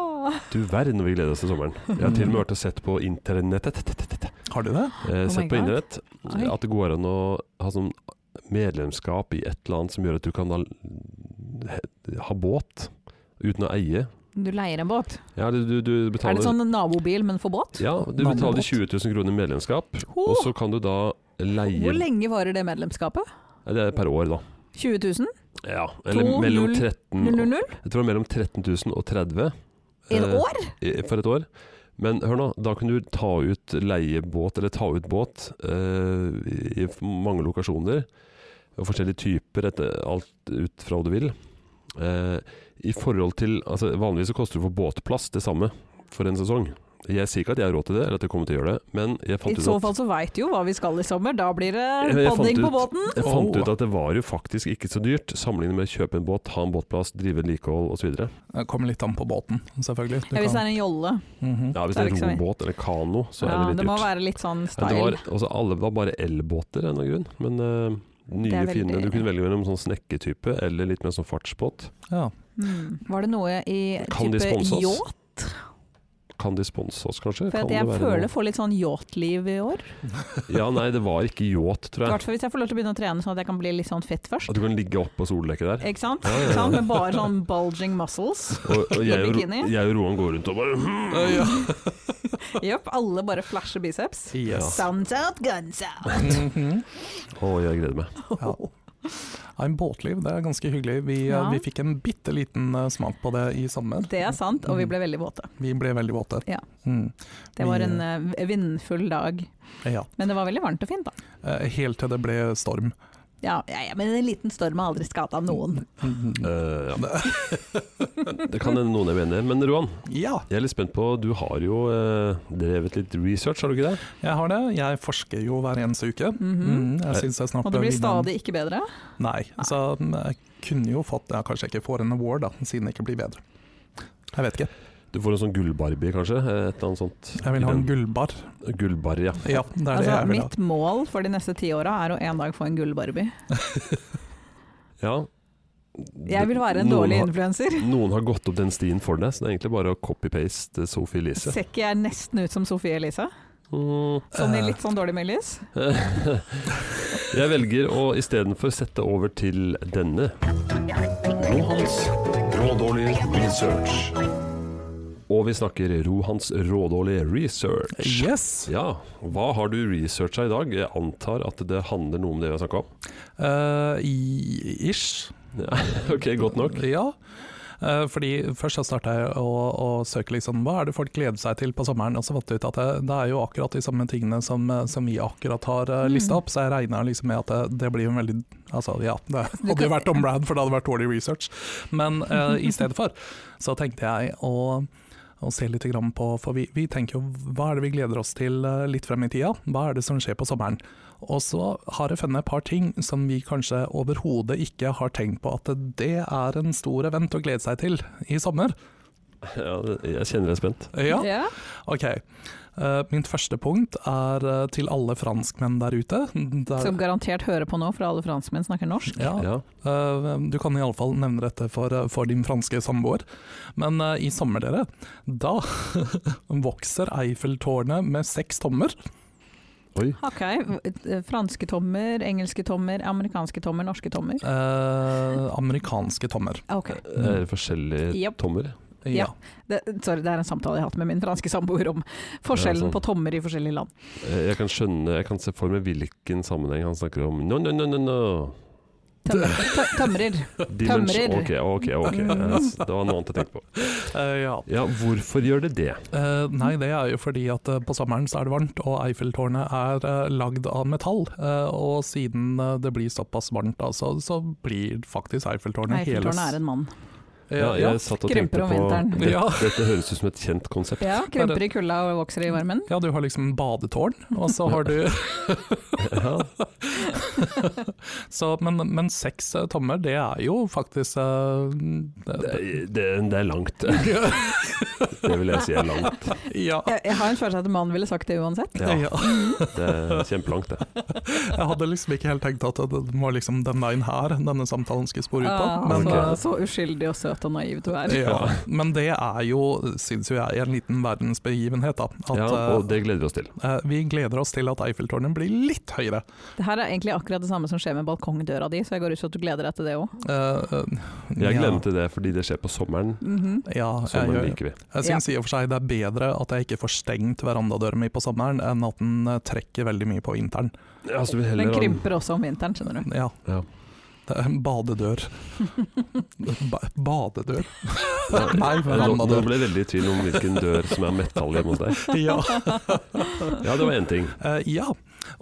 [SPEAKER 1] Du verden, vi gleder oss til sommeren. Jeg har til og med vært og sett på internettet,
[SPEAKER 2] Har du det?
[SPEAKER 1] eh,
[SPEAKER 3] Oh my
[SPEAKER 1] sett på
[SPEAKER 3] God.
[SPEAKER 1] internett
[SPEAKER 3] Oi.
[SPEAKER 1] at det går an å ha sånn medlemskap i et eller annet som gjør at du kan ha, ha båt uten å eie.
[SPEAKER 3] Du leier en båt.
[SPEAKER 1] Ja, du, du, du
[SPEAKER 3] Er
[SPEAKER 1] betaler,
[SPEAKER 3] det sånn nabobil, men for båt?
[SPEAKER 1] ja, du
[SPEAKER 2] Navnet
[SPEAKER 1] betaler
[SPEAKER 2] båt?
[SPEAKER 1] 20 000 kroner i medlemskap,
[SPEAKER 3] Ho!
[SPEAKER 1] og så kan du da leie
[SPEAKER 3] Hvor lenge varer det medlemskapet?
[SPEAKER 1] Ja, Det er per år, da.
[SPEAKER 3] 20 000?
[SPEAKER 1] Ja, eller
[SPEAKER 3] To,
[SPEAKER 1] mellom
[SPEAKER 3] null,
[SPEAKER 1] 13
[SPEAKER 3] 000?
[SPEAKER 1] og- Jeg tror det er mellom 13 000 og 30
[SPEAKER 3] Et
[SPEAKER 1] Mm. eh,
[SPEAKER 3] år?
[SPEAKER 1] i- for et år. Men hør nå, da kan du ta ut leiebåt, eller ta ut båt, eh, i- i mange lokasjoner. Og forskjellige typer, etter, alt ut fra hva du vil. Eh, I forhold til altså Vanligvis så koster det for båtplass det samme for en sesong. Jeg sier ikke at jeg har råd til det, eller at jeg kommer til å gjøre det, men jeg
[SPEAKER 3] I
[SPEAKER 1] fant ut
[SPEAKER 3] så
[SPEAKER 1] at
[SPEAKER 3] fall så veit du jo hva vi skal i sommer. Da blir
[SPEAKER 1] Jeg-
[SPEAKER 3] det
[SPEAKER 1] jeg
[SPEAKER 3] padding
[SPEAKER 1] fant
[SPEAKER 3] på båten.
[SPEAKER 1] Jeg fant
[SPEAKER 2] Åh.
[SPEAKER 3] Oh.
[SPEAKER 1] ut at det var jo faktisk ikke så dyrt, sammenlignet med å kjøpe en båt, ha en båtplass, drive vedlikehold osv.
[SPEAKER 2] Det kommer litt an på båten, selvfølgelig. Du
[SPEAKER 3] Ja, hvis det
[SPEAKER 2] kan-
[SPEAKER 3] er en jolle.
[SPEAKER 2] Mhm.
[SPEAKER 1] Ja, hvis
[SPEAKER 3] Det er
[SPEAKER 1] det er
[SPEAKER 3] ikke så mye.
[SPEAKER 1] robåt eller kano, så
[SPEAKER 3] Ja,
[SPEAKER 1] er det litt
[SPEAKER 3] det må
[SPEAKER 1] dyrt.
[SPEAKER 3] være litt sånn
[SPEAKER 1] Ja, det
[SPEAKER 3] style.
[SPEAKER 1] var, også, alle var bare elbåter av en eller annen grunn, men eh, nye
[SPEAKER 3] Det er veldig-
[SPEAKER 1] fine. Du kunne velge mellom sånn snekketype eller litt mer sånn fartsbåt.
[SPEAKER 2] Ja.
[SPEAKER 3] Mm. Var det noe i
[SPEAKER 1] Kan de
[SPEAKER 3] type
[SPEAKER 1] sponse oss?
[SPEAKER 3] yacht?
[SPEAKER 1] Kan de sponse oss, kanskje?
[SPEAKER 3] For
[SPEAKER 1] kan
[SPEAKER 3] at
[SPEAKER 1] det
[SPEAKER 3] jeg
[SPEAKER 1] være
[SPEAKER 3] føler jeg får litt sånn yachtliv i år.
[SPEAKER 1] noe? Ja, nei, det var ikke yacht,
[SPEAKER 3] I
[SPEAKER 1] tror jeg.
[SPEAKER 3] hvert fall hvis jeg får lov til å begynne å trene sånn at jeg kan bli litt sånn fett først.
[SPEAKER 1] At du kan ligge oppå soldekket der.
[SPEAKER 3] Ikke sant?
[SPEAKER 1] Ja, ja, ja.
[SPEAKER 3] Ikke sant? Med bare sånn bulging muscles.
[SPEAKER 1] Og, og jeg, og, Ro-
[SPEAKER 3] bikini.
[SPEAKER 1] jeg og Roan går rundt og bare hmm.
[SPEAKER 3] Jepp, alle bare flasher biceps.
[SPEAKER 2] Yes.
[SPEAKER 3] Sounds out, guns out.
[SPEAKER 2] Mhm.
[SPEAKER 1] Å, jeg gleder meg.
[SPEAKER 2] Ja. Ja, en båtliv, det er ganske hyggelig. Vi, eh,
[SPEAKER 3] Ja.
[SPEAKER 2] vi fikk en bitte liten eh, smak på det i sommer.
[SPEAKER 3] Det er sant, og vi
[SPEAKER 2] Mm.
[SPEAKER 3] ble veldig våte.
[SPEAKER 2] Vi ble veldig våte.
[SPEAKER 3] Ja.
[SPEAKER 2] Mm.
[SPEAKER 3] Det var
[SPEAKER 2] Vi-
[SPEAKER 3] en eh, vindfull dag,
[SPEAKER 2] Ja.
[SPEAKER 3] men det var veldig varmt og fint, da.
[SPEAKER 2] Eh, Helt til det ble storm.
[SPEAKER 3] Ja, ja, ja men en liten storm har aldri skada noen.
[SPEAKER 2] Mhm.
[SPEAKER 1] Eh, ja. Det kan hende noen er uenig i. Men Roan,
[SPEAKER 2] Ja,
[SPEAKER 1] jeg er litt spent på Du har jo eh, drevet litt research, har du ikke det?
[SPEAKER 2] jeg har det. Jeg forsker jo hver eneste uke.
[SPEAKER 3] Mhm.
[SPEAKER 2] Mm, jeg synes jeg snart
[SPEAKER 3] Og det
[SPEAKER 2] bør
[SPEAKER 3] blir
[SPEAKER 2] vinne en-
[SPEAKER 3] stadig ikke bedre.
[SPEAKER 2] Nei, så mm, jeg kunne jo fått ja, Kanskje jeg ikke får en award, da, siden det ikke blir bedre. Jeg vet ikke.
[SPEAKER 1] Du får en sånn gullbarbie, kanskje? eh, Et eller annet sånt.
[SPEAKER 2] Jeg vil ha en gullbar.
[SPEAKER 1] Gullbarr, ja.
[SPEAKER 2] Ja, det er det
[SPEAKER 3] Altså,
[SPEAKER 2] jeg vil ha.
[SPEAKER 3] mitt mål for de neste ti åra er å en dag få en gullbarbie.
[SPEAKER 1] ja.
[SPEAKER 3] Jeg vil være en
[SPEAKER 1] Noen
[SPEAKER 3] dårlig
[SPEAKER 1] har-
[SPEAKER 3] influenser.
[SPEAKER 1] Noen har gått opp den stien for deg, så det er egentlig bare å copy-paste Sophie
[SPEAKER 2] Altså.
[SPEAKER 1] Elise.
[SPEAKER 3] Ser ikke jeg nesten ut som Sofie Elise?
[SPEAKER 1] Mm.
[SPEAKER 3] Sånn i
[SPEAKER 2] Eh.
[SPEAKER 3] litt sånn dårlig meldis?
[SPEAKER 1] Jeg velger å istedenfor sette over til denne. Rohans rådårlige research. Og vi snakker Rohans rådårlige research.
[SPEAKER 2] Yes!
[SPEAKER 1] Ja, hva har du researcha i dag? Jeg antar at det handler noe om det vi har snakka om.
[SPEAKER 2] Eh, i- ish.
[SPEAKER 1] Ja, ok, godt nok.
[SPEAKER 2] Ja. Eh, fordi Først så starta jeg å, å søke liksom, hva er det folk gleder seg til på sommeren. og så fant jeg ut at det, det er jo akkurat de samme tingene som, eh, som vi akkurat har eh, lista opp. Så jeg regna liksom med at det, det blir en veldig altså ja, Det hadde jo vært om Brad, for det hadde vært dårlig research. Men eh, i stedet for så tenkte jeg å, å se litt grann på For vi, vi tenker jo hva er det vi gleder oss til eh, litt frem i tida? Hva er det som skjer på sommeren? Og så har jeg funnet et par ting som vi kanskje overhodet ikke har tenkt på at det er en stor event å glede seg til i sommer.
[SPEAKER 1] Ja, det- jeg kjenner jeg er spent.
[SPEAKER 2] Ja, ok. Eh, Mitt første punkt er eh, til alle franskmenn der ute. Der,
[SPEAKER 3] Som garantert hører på nå, for alle franskmenn snakker norsk.
[SPEAKER 2] ja,
[SPEAKER 1] Ja.
[SPEAKER 2] Eh, Du kan iallfall nevne dette for, eh, for din franske samboer. Men eh, i sommer, dere, da vokser Eiffeltårnet med seks tommer.
[SPEAKER 1] Oi.
[SPEAKER 3] Ok, eh, franske tommer, engelske tommer, amerikanske tommer, norske tommer.
[SPEAKER 2] Eh, amerikanske tommer.
[SPEAKER 3] Ah, Ok.
[SPEAKER 1] Er det forskjellige
[SPEAKER 3] Japp.
[SPEAKER 1] tommer?
[SPEAKER 3] Ja. Det, sorry, det er en samtale jeg har hatt med min franske samboer om forskjellen
[SPEAKER 1] Ja, sånn.
[SPEAKER 3] på tommer i forskjellige land.
[SPEAKER 1] Eh, Jeg kan skjønne, jeg kan se for meg hvilken sammenheng han snakker om. No, no, no, no, no.
[SPEAKER 3] Tøm, tø- tømrer.
[SPEAKER 1] Dimens-
[SPEAKER 3] Tømrer.
[SPEAKER 1] Ok, ok, ok. Eh, s- Det var noe annet jeg tenkte på.
[SPEAKER 2] Eh, ja.
[SPEAKER 1] Ja, hvorfor gjør det det?
[SPEAKER 2] Eh, nei, det er jo fordi at eh, på sommeren så er det varmt, og Eiffeltårnet er eh, lagd av metall. Eh, og siden eh, det blir såpass varmt, da, så, så blir faktisk Eiffeltårnet hele
[SPEAKER 3] Eiffeltårnet er en mann.
[SPEAKER 1] Ja,
[SPEAKER 2] ja.
[SPEAKER 1] jeg satt og tenkte
[SPEAKER 3] Krymper om
[SPEAKER 1] på
[SPEAKER 3] vinteren.
[SPEAKER 1] det,
[SPEAKER 2] Ja.
[SPEAKER 1] Dette høres ut som et kjent konsept.
[SPEAKER 3] Ja, Krymper i kulda og vokser i varmen.
[SPEAKER 2] ja, du har liksom badetårn, og så har du
[SPEAKER 1] Ja.
[SPEAKER 2] så, men, men seks eh, tommer, det er jo faktisk eh, det,
[SPEAKER 1] Det, det, det er langt. Det vil jeg si er langt.
[SPEAKER 2] Ja.
[SPEAKER 3] Jeg, jeg har en følelse av at mannen ville sagt det uansett.
[SPEAKER 1] Ja,
[SPEAKER 2] ja.
[SPEAKER 1] det er kjempelangt, det.
[SPEAKER 2] Jeg hadde liksom ikke helt tenkt at det var liksom den veien her denne samtalen skulle spore ut på.
[SPEAKER 3] Ah,
[SPEAKER 2] men,
[SPEAKER 3] så,
[SPEAKER 2] eh,
[SPEAKER 3] så uskyldig og søt og naiv du er.
[SPEAKER 2] ja. men det er jo, syns jo jeg, en liten verdensbegivenhet. da. At,
[SPEAKER 1] Ja, og det gleder vi oss til.
[SPEAKER 2] eh, eh, vi gleder oss til at Eiffeltårnet blir litt litt høyere.
[SPEAKER 3] Det her er egentlig akkurat det samme som skjer med balkongdøra di, så jeg går ut fra at du gleder deg til det òg.
[SPEAKER 2] Eh, eh,
[SPEAKER 1] Jeg
[SPEAKER 2] ja.
[SPEAKER 1] gleder meg til det fordi det skjer på sommeren.
[SPEAKER 3] Mhm.
[SPEAKER 2] Ja, jeg,
[SPEAKER 1] Sommeren
[SPEAKER 2] gjør-
[SPEAKER 1] liker vi.
[SPEAKER 2] jeg syns i og for seg det er bedre at jeg ikke får stengt verandadøra mi på sommeren, enn at den eh, trekker veldig mye på vinteren.
[SPEAKER 1] Ja, så vi
[SPEAKER 3] Den
[SPEAKER 1] heller ha en-
[SPEAKER 3] krymper også om vinteren, skjønner du.
[SPEAKER 2] Ja.
[SPEAKER 1] Ja.
[SPEAKER 2] Det er en badedør. ba badedør? Nei,
[SPEAKER 1] Nå, nå
[SPEAKER 2] verandadør.
[SPEAKER 1] ble jeg veldig i tvil om hvilken dør som er metall hjemme hos deg.
[SPEAKER 2] Ja.
[SPEAKER 1] Ja, det var én ting.
[SPEAKER 2] Eh, ja.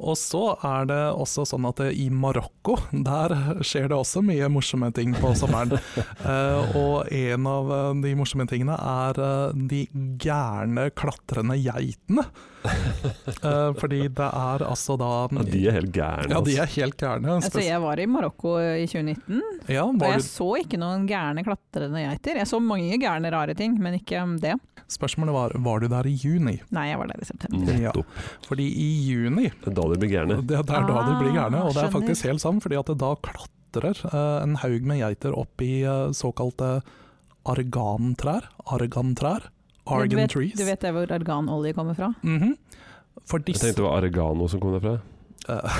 [SPEAKER 2] Og så er det også sånn at eh, i Marokko, der skjer det også mye morsomme ting på sommeren. Eh, og en av eh, de morsomme tingene er eh, de gærne klatrende geitene. Eh, fordi det er altså da
[SPEAKER 1] Ja, de er helt gærne.
[SPEAKER 2] Ja, de
[SPEAKER 1] altså.
[SPEAKER 2] er helt gærne.
[SPEAKER 3] Altså, jeg var i Marokko eh, i 2019,
[SPEAKER 2] Ja,
[SPEAKER 3] og
[SPEAKER 2] var
[SPEAKER 3] jeg
[SPEAKER 2] du,
[SPEAKER 3] så ikke noen gærne klatrende geiter. Jeg så mange gærne rare ting, men ikke um, det.
[SPEAKER 2] spørsmålet var var du der i juni.
[SPEAKER 3] Nei, jeg var der i september.
[SPEAKER 1] altså. Nettopp.
[SPEAKER 2] Fordi i juni
[SPEAKER 1] Da de blir gærne.
[SPEAKER 2] Det, det er da de blir gærne,
[SPEAKER 3] Ah,
[SPEAKER 2] og det er
[SPEAKER 3] skjønner.
[SPEAKER 2] faktisk helt sant, fordi at det da klatrer eh, en haug med geiter opp i eh, såkalte argantrær. Argantrær.
[SPEAKER 3] du,
[SPEAKER 2] Argan
[SPEAKER 3] vet,
[SPEAKER 2] trees.
[SPEAKER 3] du vet det hvor arganolje kommer fra?
[SPEAKER 2] Mhm. For
[SPEAKER 1] Jeg
[SPEAKER 2] disse
[SPEAKER 1] tenkte det var oregano som kom derfra.
[SPEAKER 2] eh,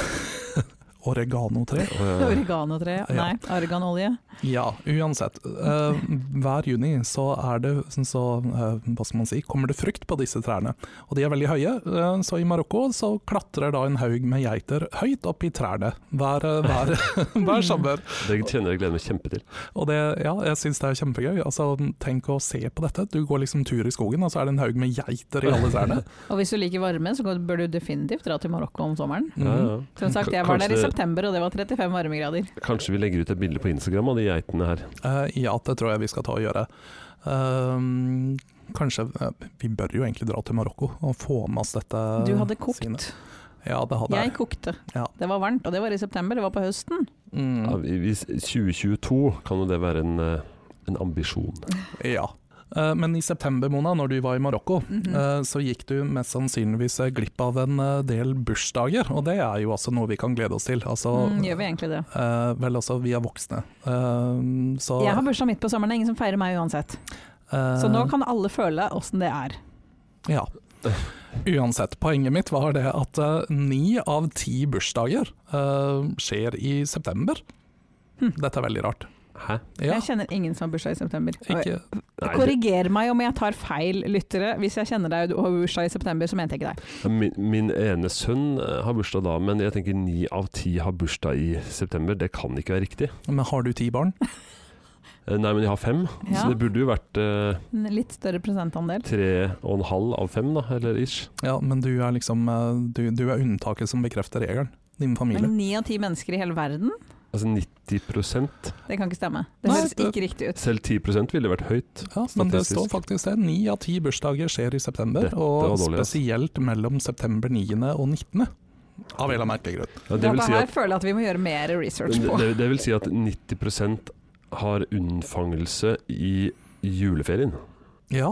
[SPEAKER 2] Oreganotre.
[SPEAKER 1] Å, ja.
[SPEAKER 3] Oreganotre?
[SPEAKER 2] Ja.
[SPEAKER 3] Nei, arganolje.
[SPEAKER 2] Ja, uansett. Eh, hver juni så er det sånn så eh, Hva skal man si Kommer det frukt på disse trærne. Og de er veldig høye, eh, så i Marokko så klatrer da en haug med geiter høyt opp i trærne hver, eh, hver, hver sommer.
[SPEAKER 1] Det kjenner jeg gleder meg kjempe til.
[SPEAKER 2] Og det, ja, jeg syns det er kjempegøy. Altså, tenk å se på dette. Du går liksom tur i skogen, og så er det en haug med geiter i alle trærne.
[SPEAKER 3] Og hvis du liker varme, så går- bør du definitivt dra til Marokko om sommeren.
[SPEAKER 1] Ja,
[SPEAKER 2] Mhm.
[SPEAKER 1] ja.
[SPEAKER 3] Som sagt, jeg var der i
[SPEAKER 1] Kanskje-
[SPEAKER 3] september, og det var 35 varmegrader.
[SPEAKER 1] Kanskje vi legger ut et bilde på Instagram av de geitene her.
[SPEAKER 2] Eh, ja, det tror jeg vi skal ta og gjøre. Ehm, kanskje eh, Vi bør jo egentlig dra til Marokko og få med oss dette.
[SPEAKER 3] Du hadde
[SPEAKER 2] sine-
[SPEAKER 3] kokt.
[SPEAKER 2] Ja, det hadde
[SPEAKER 3] Jeg
[SPEAKER 2] jeg.
[SPEAKER 3] kokte.
[SPEAKER 2] Ja.
[SPEAKER 3] Det var varmt, og det var i september, det var på høsten.
[SPEAKER 1] Ja,
[SPEAKER 2] Mm,
[SPEAKER 1] vi- vi- 2022 kan jo det være en, eh, en ambisjon.
[SPEAKER 2] ja. Eh, men i september, Mona, når du var i Marokko,
[SPEAKER 3] Mhm.
[SPEAKER 2] eh, så gikk du mest sannsynligvis eh, glipp av en eh, del bursdager, og det er jo altså noe vi kan glede oss til. Altså,
[SPEAKER 3] Mm, gjør vi egentlig det?
[SPEAKER 2] Eh, vel, altså, vi er voksne. Eh, så
[SPEAKER 3] Jeg har bursdag midt på sommeren, det er ingen som feirer meg uansett.
[SPEAKER 2] eh,
[SPEAKER 3] Så nå kan alle føle åssen det er.
[SPEAKER 2] Ja. Uansett, poenget mitt var det at eh, ni av ti bursdager eh, skjer i september.
[SPEAKER 3] Hm.
[SPEAKER 2] Dette er veldig rart.
[SPEAKER 1] Hæ?
[SPEAKER 2] Ja,
[SPEAKER 3] Jeg kjenner ingen som har bursdag i september. Og
[SPEAKER 2] ikke,
[SPEAKER 1] Nei, det-
[SPEAKER 3] Korriger meg om jeg tar feil, lyttere. Hvis jeg kjenner deg og du har bursdag i september, så mente jeg ikke deg.
[SPEAKER 1] min, min ene sønn eh, har bursdag da, men jeg tenker ni av ti har bursdag i september. Det kan ikke være riktig.
[SPEAKER 2] men har du ti barn?
[SPEAKER 1] Eh, Nei, men jeg har fem,
[SPEAKER 3] Ja,
[SPEAKER 1] så det burde jo vært eh,
[SPEAKER 3] en litt større prosentandel.
[SPEAKER 1] tre og en halv av fem, da, eller ish.
[SPEAKER 2] Ja, men du er liksom eh, du, du er unntaket som bekrefter regelen. Din familie.
[SPEAKER 3] Men ni av ti mennesker i hele verden?
[SPEAKER 1] Altså 90
[SPEAKER 3] Det kan ikke stemme. Det
[SPEAKER 2] Nei,
[SPEAKER 3] høres
[SPEAKER 2] det-
[SPEAKER 3] ikke riktig ut.
[SPEAKER 1] Selv 10 ville vært høyt.
[SPEAKER 2] Ja, men det
[SPEAKER 1] Statistisk.
[SPEAKER 2] står faktisk det. Ni av ti bursdager skjer i september,
[SPEAKER 1] Dette var
[SPEAKER 2] og
[SPEAKER 1] dårlig, ass.
[SPEAKER 2] spesielt mellom september 9. og 19. Av en eller annen merkelig grunn.
[SPEAKER 1] Ja, det, vil
[SPEAKER 3] Dette
[SPEAKER 1] si
[SPEAKER 3] her
[SPEAKER 1] at,
[SPEAKER 3] føler jeg at vi må gjøre mer research på.
[SPEAKER 1] det, det vil si at 90 har unnfangelse i juleferien.
[SPEAKER 2] Ja,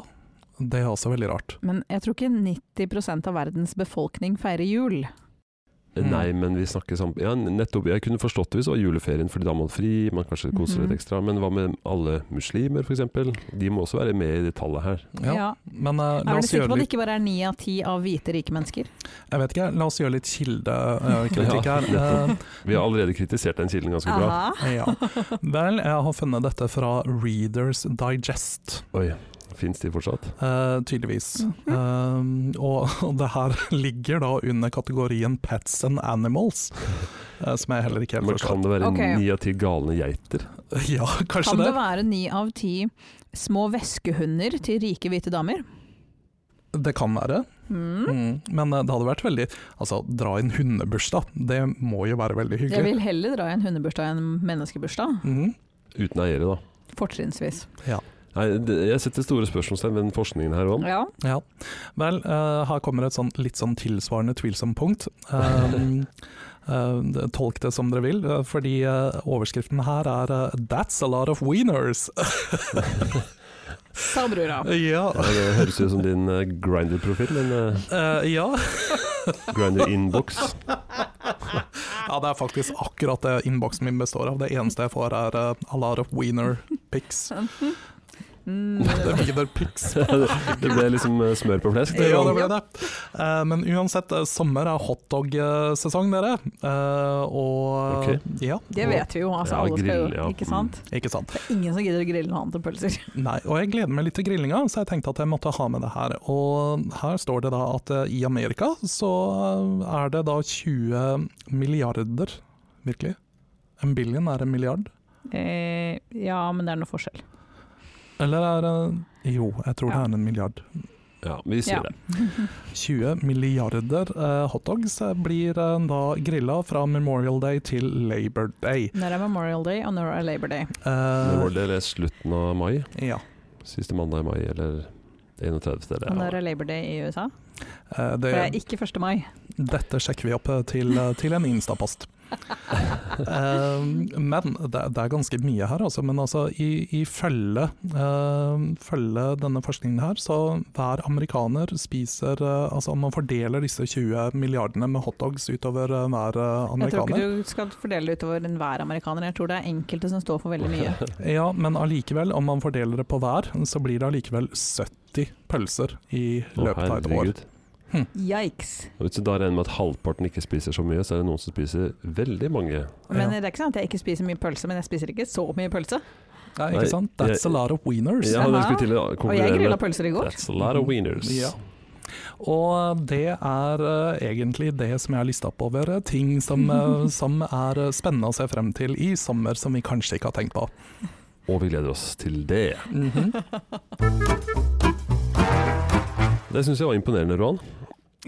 [SPEAKER 2] det er også veldig rart.
[SPEAKER 3] Men jeg tror ikke 90 av verdens befolkning feirer jul.
[SPEAKER 2] Mm.
[SPEAKER 1] Nei, men vi snakker sammen ja, nettopp, Jeg kunne forstått det hvis det var juleferien, fordi da har man fri, man kanskje koser
[SPEAKER 3] Mhm.
[SPEAKER 1] litt ekstra. Men hva med alle muslimer, f.eks.? De må også være med i det tallet her.
[SPEAKER 2] Ja,
[SPEAKER 3] Ja.
[SPEAKER 2] Men eh,
[SPEAKER 3] Er
[SPEAKER 2] la
[SPEAKER 3] du
[SPEAKER 2] oss
[SPEAKER 3] sikker
[SPEAKER 2] gjøre
[SPEAKER 3] på at det
[SPEAKER 2] litt,
[SPEAKER 3] ikke bare er ni av ti av hvite, rike mennesker?
[SPEAKER 2] jeg vet ikke, la oss gjøre litt kildekritikk
[SPEAKER 1] Ja,
[SPEAKER 2] her.
[SPEAKER 1] Vi har allerede kritisert den kilden ganske bra.
[SPEAKER 3] Aha.
[SPEAKER 2] Eh, ja. Vel, jeg har funnet dette fra Readers Digest,
[SPEAKER 1] Oi, fins de fortsatt?
[SPEAKER 2] eh, tydeligvis. Eh, og, og det her ligger da under kategorien pets and animals, eh, som jeg heller ikke helt
[SPEAKER 1] Men kan
[SPEAKER 2] forstår.
[SPEAKER 1] det være
[SPEAKER 3] Ok.
[SPEAKER 1] ni av ti galne geiter?
[SPEAKER 2] Ja, kanskje
[SPEAKER 3] Kan det
[SPEAKER 2] det.
[SPEAKER 3] være ni av ti små veskehunder til rike, hvite damer?
[SPEAKER 2] Det kan være.
[SPEAKER 3] Mm.
[SPEAKER 2] Mm. Men eh, det hadde vært veldig Altså, dra inn hundebursdag, det må jo være veldig
[SPEAKER 3] Jeg
[SPEAKER 2] hyggelig.
[SPEAKER 3] vil heller dra i en hundebursdag enn en menneskebursdag.
[SPEAKER 2] Mhm.
[SPEAKER 1] Uten eiere, da.
[SPEAKER 3] Fortrinnsvis.
[SPEAKER 1] Nei, det- jeg setter store spørsmålstegn ved den forskningen her òg.
[SPEAKER 3] Ja.
[SPEAKER 2] Ja. Vel, eh, her kommer et sånn, litt sånn tilsvarende tvilsomt punkt. Um, eh, det- tolk det som dere vil, eh, fordi eh, overskriften her er eh, 'That's a lot of wieners'.
[SPEAKER 3] Sa brura.
[SPEAKER 2] ja.
[SPEAKER 1] Ja, det høres ut som din uh, Grinder-profil, men uh,
[SPEAKER 2] Eh, ja.
[SPEAKER 1] Grinder-inbox.
[SPEAKER 2] ja, det er faktisk akkurat det innboksen min består av. Det eneste jeg får er eh, 'a lot of wiener pics'.
[SPEAKER 3] Mm.
[SPEAKER 2] Det er Vidar-pics.
[SPEAKER 1] Det ble liksom eh, smør på flesk. det.
[SPEAKER 2] Ja, det ble det. Eh, Men uansett, eh, sommer er hotdog-sesong, dere. Eh, Og
[SPEAKER 1] Ok.
[SPEAKER 2] ja.
[SPEAKER 3] Det vet vi jo, altså.
[SPEAKER 1] Ja,
[SPEAKER 3] alle skal jo,
[SPEAKER 1] grill, ja. Mm.
[SPEAKER 3] Ikke sant?
[SPEAKER 2] Ikke sant.
[SPEAKER 3] Det er ingen som gidder å grille noe annet enn pølser.
[SPEAKER 2] Nei, og jeg gleder meg litt til grillinga, så jeg tenkte at jeg måtte ha med det her. Og her står det da at eh, i Amerika så eh, er det da 20 milliarder, virkelig. En billion er en milliard.
[SPEAKER 3] Eh, ja, men det er noe forskjell.
[SPEAKER 2] Eller er det Jo, jeg tror det er en milliard.
[SPEAKER 1] Ja, vi sier
[SPEAKER 3] Ja.
[SPEAKER 1] det.
[SPEAKER 2] 20 milliarder eh, hotdogs eh, blir eh, da grilla fra Memorial Day til Labor Day.
[SPEAKER 3] Når er Memorial Day, og når er Labor Day.
[SPEAKER 1] Det
[SPEAKER 2] Eh,
[SPEAKER 1] var det eller slutten av mai.
[SPEAKER 2] ja.
[SPEAKER 1] Siste mandag i mai, eller 31.
[SPEAKER 3] Og når
[SPEAKER 1] eller ja.
[SPEAKER 3] er Labor Day i USA?
[SPEAKER 2] Eh,
[SPEAKER 3] For det er
[SPEAKER 2] det,
[SPEAKER 3] ikke 1. mai.
[SPEAKER 2] dette sjekker vi opp eh, til, eh, til en Insta-post. Eh, men det, det er ganske mye her, altså. Men altså, i, i følge, eh, følge denne forskningen her, så hver amerikaner spiser eh, Altså man fordeler disse 20 milliardene med hotdogs utover eh, hver eh,
[SPEAKER 3] Jeg tror
[SPEAKER 2] amerikaner.
[SPEAKER 3] ikke du skal fordele det utover enhver amerikaner. Jeg tror det er enkelte som står for veldig mye.
[SPEAKER 2] Ja, men allikevel, om man fordeler det på hver, så blir det allikevel 70 pølser i
[SPEAKER 1] Å,
[SPEAKER 2] løpet av et år.
[SPEAKER 1] herregud.
[SPEAKER 3] Yikes.
[SPEAKER 1] Og Hvis du da regner med at halvparten ikke spiser så mye, så er det noen som spiser veldig mange.
[SPEAKER 3] Men
[SPEAKER 2] Ja.
[SPEAKER 3] det er ikke sånn at jeg ikke spiser mye pølse, men jeg spiser ikke så mye pølse.
[SPEAKER 2] Nei,
[SPEAKER 1] Nei,
[SPEAKER 2] ikke sant? That's a lot of wieners.
[SPEAKER 1] Ja, det skulle til å
[SPEAKER 3] Og jeg
[SPEAKER 1] konkurrere
[SPEAKER 3] grilla
[SPEAKER 1] med
[SPEAKER 3] pølser i går.
[SPEAKER 1] That's a lot of wieners.
[SPEAKER 2] Ja. Og det er eh, egentlig det som jeg har lista opp over eh, ting som, eh, som er eh, spennende å se frem til i sommer, som vi kanskje ikke har tenkt på.
[SPEAKER 1] Og vi gleder oss til det.
[SPEAKER 2] Mhm.
[SPEAKER 1] Det syns jeg var imponerende, Roan.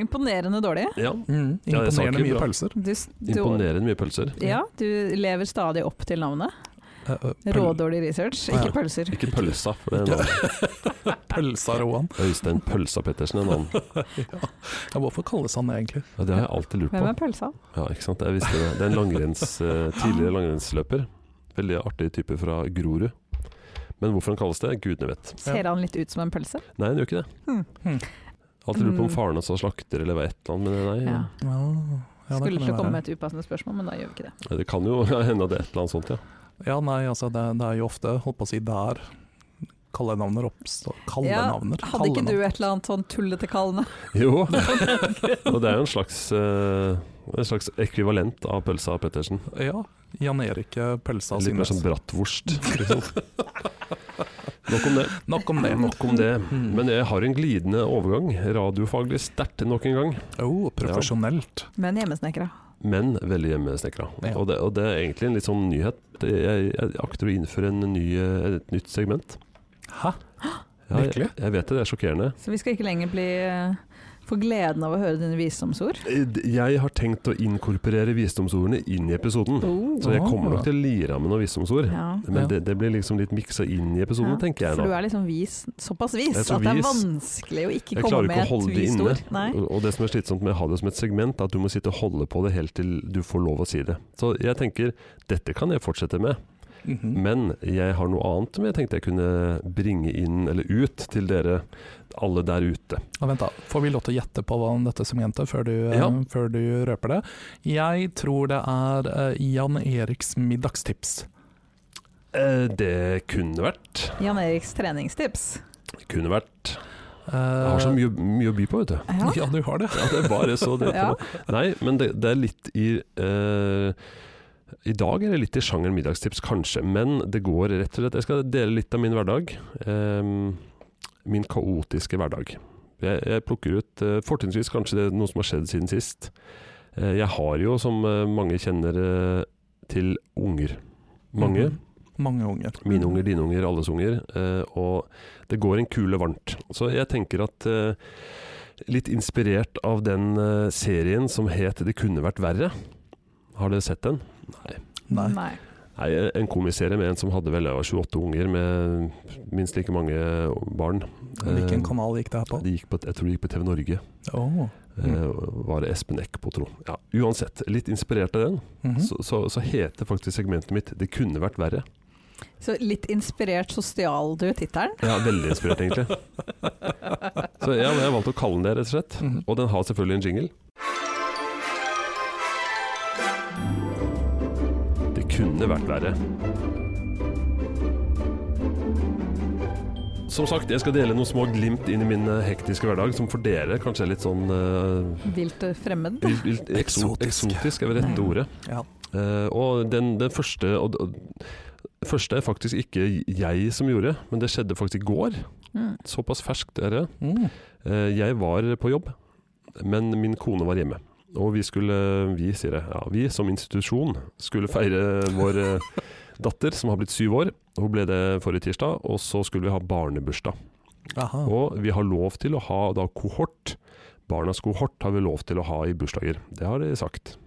[SPEAKER 3] Imponerende dårlig.
[SPEAKER 1] Ja.
[SPEAKER 2] Mhm.
[SPEAKER 1] Ja, jeg sa ikke
[SPEAKER 2] Imponerende mye
[SPEAKER 1] bra.
[SPEAKER 2] pølser.
[SPEAKER 3] Du, s- du,
[SPEAKER 1] Imponerende mye pølser.
[SPEAKER 3] ja, du lever stadig opp til navnet.
[SPEAKER 2] Eh, eh, pøl
[SPEAKER 3] Rådårlig research,
[SPEAKER 2] Ja.
[SPEAKER 3] ikke pølser.
[SPEAKER 1] Ikke pølsa, for det er en annen.
[SPEAKER 2] pølsa, Roan.
[SPEAKER 1] Øystein Pølsa Pettersen er en annen.
[SPEAKER 2] Ja, hvorfor kalles han det egentlig?
[SPEAKER 1] Ja, det har jeg alltid lurt
[SPEAKER 3] Hvem
[SPEAKER 1] på.
[SPEAKER 3] er pølsa?
[SPEAKER 1] Ja, ikke sant? Jeg visste det. Det er en langrenns, eh, tidligere langrennsløper. Veldig artig type fra Grorud. Men hvorfor han kalles det, gudene vet.
[SPEAKER 3] Ser han litt ut som en pølse?
[SPEAKER 1] Nei, han gjør ikke det.
[SPEAKER 3] Hmm.
[SPEAKER 2] Hmm.
[SPEAKER 1] Alltid lurt på om
[SPEAKER 3] Mm.
[SPEAKER 1] faren hans var slakter eller var et eller annet, men nei.
[SPEAKER 3] Ja.
[SPEAKER 2] Ja, ja, det kan
[SPEAKER 3] Skulle til å
[SPEAKER 2] være.
[SPEAKER 3] komme med et upassende spørsmål, men da gjør vi ikke det.
[SPEAKER 1] Det kan jo hende at det er et eller annet sånt, ja.
[SPEAKER 2] Ja, nei, altså det, det er jo ofte, holdt på å si, der kallenavner oppstår. Kallenavner.
[SPEAKER 3] hadde ikke du
[SPEAKER 2] kallenavn.
[SPEAKER 3] et eller annet sånn tullete kallende?
[SPEAKER 1] Jo. Og det er jo en slags, eh, en slags ekvivalent av pølsa Pettersen.
[SPEAKER 2] Ja. Jan Erik eh, Pølsa
[SPEAKER 1] Litt mer
[SPEAKER 2] Simnes.
[SPEAKER 1] sånn bratwurst. Liksom. Nok om det.
[SPEAKER 2] Nok om det.
[SPEAKER 1] Nok om det.
[SPEAKER 2] Mm.
[SPEAKER 1] Men jeg har en glidende overgang, radiofaglig sterkt nok en gang.
[SPEAKER 2] Oh, profesjonelt.
[SPEAKER 3] Men hjemmesnekra.
[SPEAKER 1] Men veldig hjemmesnekra.
[SPEAKER 2] Ja.
[SPEAKER 1] Og, det- og det er egentlig en litt sånn nyhet. Det- Jeg, jeg akter å innføre en ny, eh, et nytt segment.
[SPEAKER 2] Hæ?
[SPEAKER 1] Ja, jeg,
[SPEAKER 2] Virkelig?
[SPEAKER 1] jeg vet det, det er sjokkerende.
[SPEAKER 3] Så vi skal ikke lenger bli eh, få gleden av å høre dine visdomsord.
[SPEAKER 1] Jeg har tenkt å inkorporere visdomsordene inn i episoden.
[SPEAKER 3] Oh.
[SPEAKER 1] Så jeg kommer nok til å lire av med noen visdomsord.
[SPEAKER 3] Ja.
[SPEAKER 1] Men
[SPEAKER 2] Ja.
[SPEAKER 1] det, det blir liksom litt miksa inn i episoden,
[SPEAKER 3] Ja,
[SPEAKER 1] tenker jeg
[SPEAKER 3] For du
[SPEAKER 1] da.
[SPEAKER 3] er liksom vis, såpass vis
[SPEAKER 1] Jeg er så
[SPEAKER 3] at det er
[SPEAKER 1] vis.
[SPEAKER 3] vanskelig å ikke
[SPEAKER 1] Jeg
[SPEAKER 3] komme
[SPEAKER 1] klarer
[SPEAKER 3] med
[SPEAKER 1] ikke å
[SPEAKER 3] et
[SPEAKER 1] holde det
[SPEAKER 3] vist
[SPEAKER 1] inne.
[SPEAKER 3] ord. Nei.
[SPEAKER 1] Og- Og det som er slitsomt med å ha det som et segment, er at du må sitte og holde på det helt til du får lov å si det. Så jeg tenker, dette kan jeg fortsette med.
[SPEAKER 2] Mhm.
[SPEAKER 1] Men jeg har noe annet som jeg tenkte jeg kunne bringe inn, eller ut, til dere alle der ute.
[SPEAKER 2] Ja, vent da, Får vi lov til å gjette på hva dette som jente, før du, eh,
[SPEAKER 1] Ja.
[SPEAKER 2] før du røper det? Jeg tror det er eh, Jan Eriks middagstips.
[SPEAKER 1] Eh, Det kunne vært.
[SPEAKER 3] Jan Eriks treningstips.
[SPEAKER 1] Kunne vært.
[SPEAKER 2] Eh,
[SPEAKER 1] Jeg har så mye, mye å by på, vet du.
[SPEAKER 3] Ja.
[SPEAKER 2] Ja, du har det.
[SPEAKER 1] Ja, det er bare så det.
[SPEAKER 3] Ja.
[SPEAKER 1] Nei, men det, det er litt i eh, I dag er det litt i sjangeren middagstips, kanskje. Men det går rett og slett Jeg skal dele litt av min hverdag. eh, min kaotiske hverdag. Jeg, jeg plukker ut eh, fortrinnsvis kanskje det er noe som har skjedd siden sist. Eh, jeg har jo, som eh, mange kjenner eh, til, unger. Mange.
[SPEAKER 2] Mhm. Mange unger.
[SPEAKER 1] Mine unger, dine unger, alles unger. eh, og det går en kule varmt. Så jeg tenker at eh, Litt inspirert av den eh, serien som het 'Det kunne vært verre'. Har dere sett den?
[SPEAKER 2] Nei.
[SPEAKER 1] Nei, eh, En komiserie med en som hadde vel ja, 28 unger, med minst like mange eh, barn.
[SPEAKER 2] Hvilken
[SPEAKER 1] Eh,
[SPEAKER 2] kanal gikk det her på? Mm.
[SPEAKER 1] de gikk på? Jeg tror det gikk på TV Norge.
[SPEAKER 2] Åh.
[SPEAKER 1] eh, var det Espen Eckbo, tro. Ja, uansett, litt inspirert av den,
[SPEAKER 2] Mhm.
[SPEAKER 1] så, så, så heter faktisk segmentet mitt 'Det kunne vært verre'.
[SPEAKER 3] Så litt inspirert så stjal du tittelen.
[SPEAKER 1] Ja, veldig inspirert, egentlig. Så ja, jeg valgte å kalle den det, rett og slett.
[SPEAKER 2] Mhm.
[SPEAKER 1] Og den har selvfølgelig en jingle. Det kunne vært verre. Som sagt, jeg skal dele noen små glimt inn i min eh, hektiske hverdag, som for dere kanskje er litt sånn eh,
[SPEAKER 3] Vilt og fremmed.
[SPEAKER 1] litt- litt ekso-
[SPEAKER 2] Eksotisk.
[SPEAKER 1] Eksotisk er vel rette
[SPEAKER 3] Mm.
[SPEAKER 1] ordet.
[SPEAKER 2] Ja.
[SPEAKER 1] Eh, og den, den første og, og, første er faktisk ikke jeg som gjorde, men det skjedde faktisk i går.
[SPEAKER 3] Mm.
[SPEAKER 1] Såpass ferskt er det.
[SPEAKER 2] Mm.
[SPEAKER 1] Eh, Jeg var på jobb, men min kone var hjemme. Og vi skulle, vi sier det, ja, vi som institusjon skulle feire vår eh, datter som har blitt syv år. Hun ble det forrige tirsdag, og så skulle vi ha barnebursdag.
[SPEAKER 2] Aha.
[SPEAKER 1] Og vi har lov til å ha da kohort. Barnas kohort har vi lov til å ha i bursdager. Det har de sagt.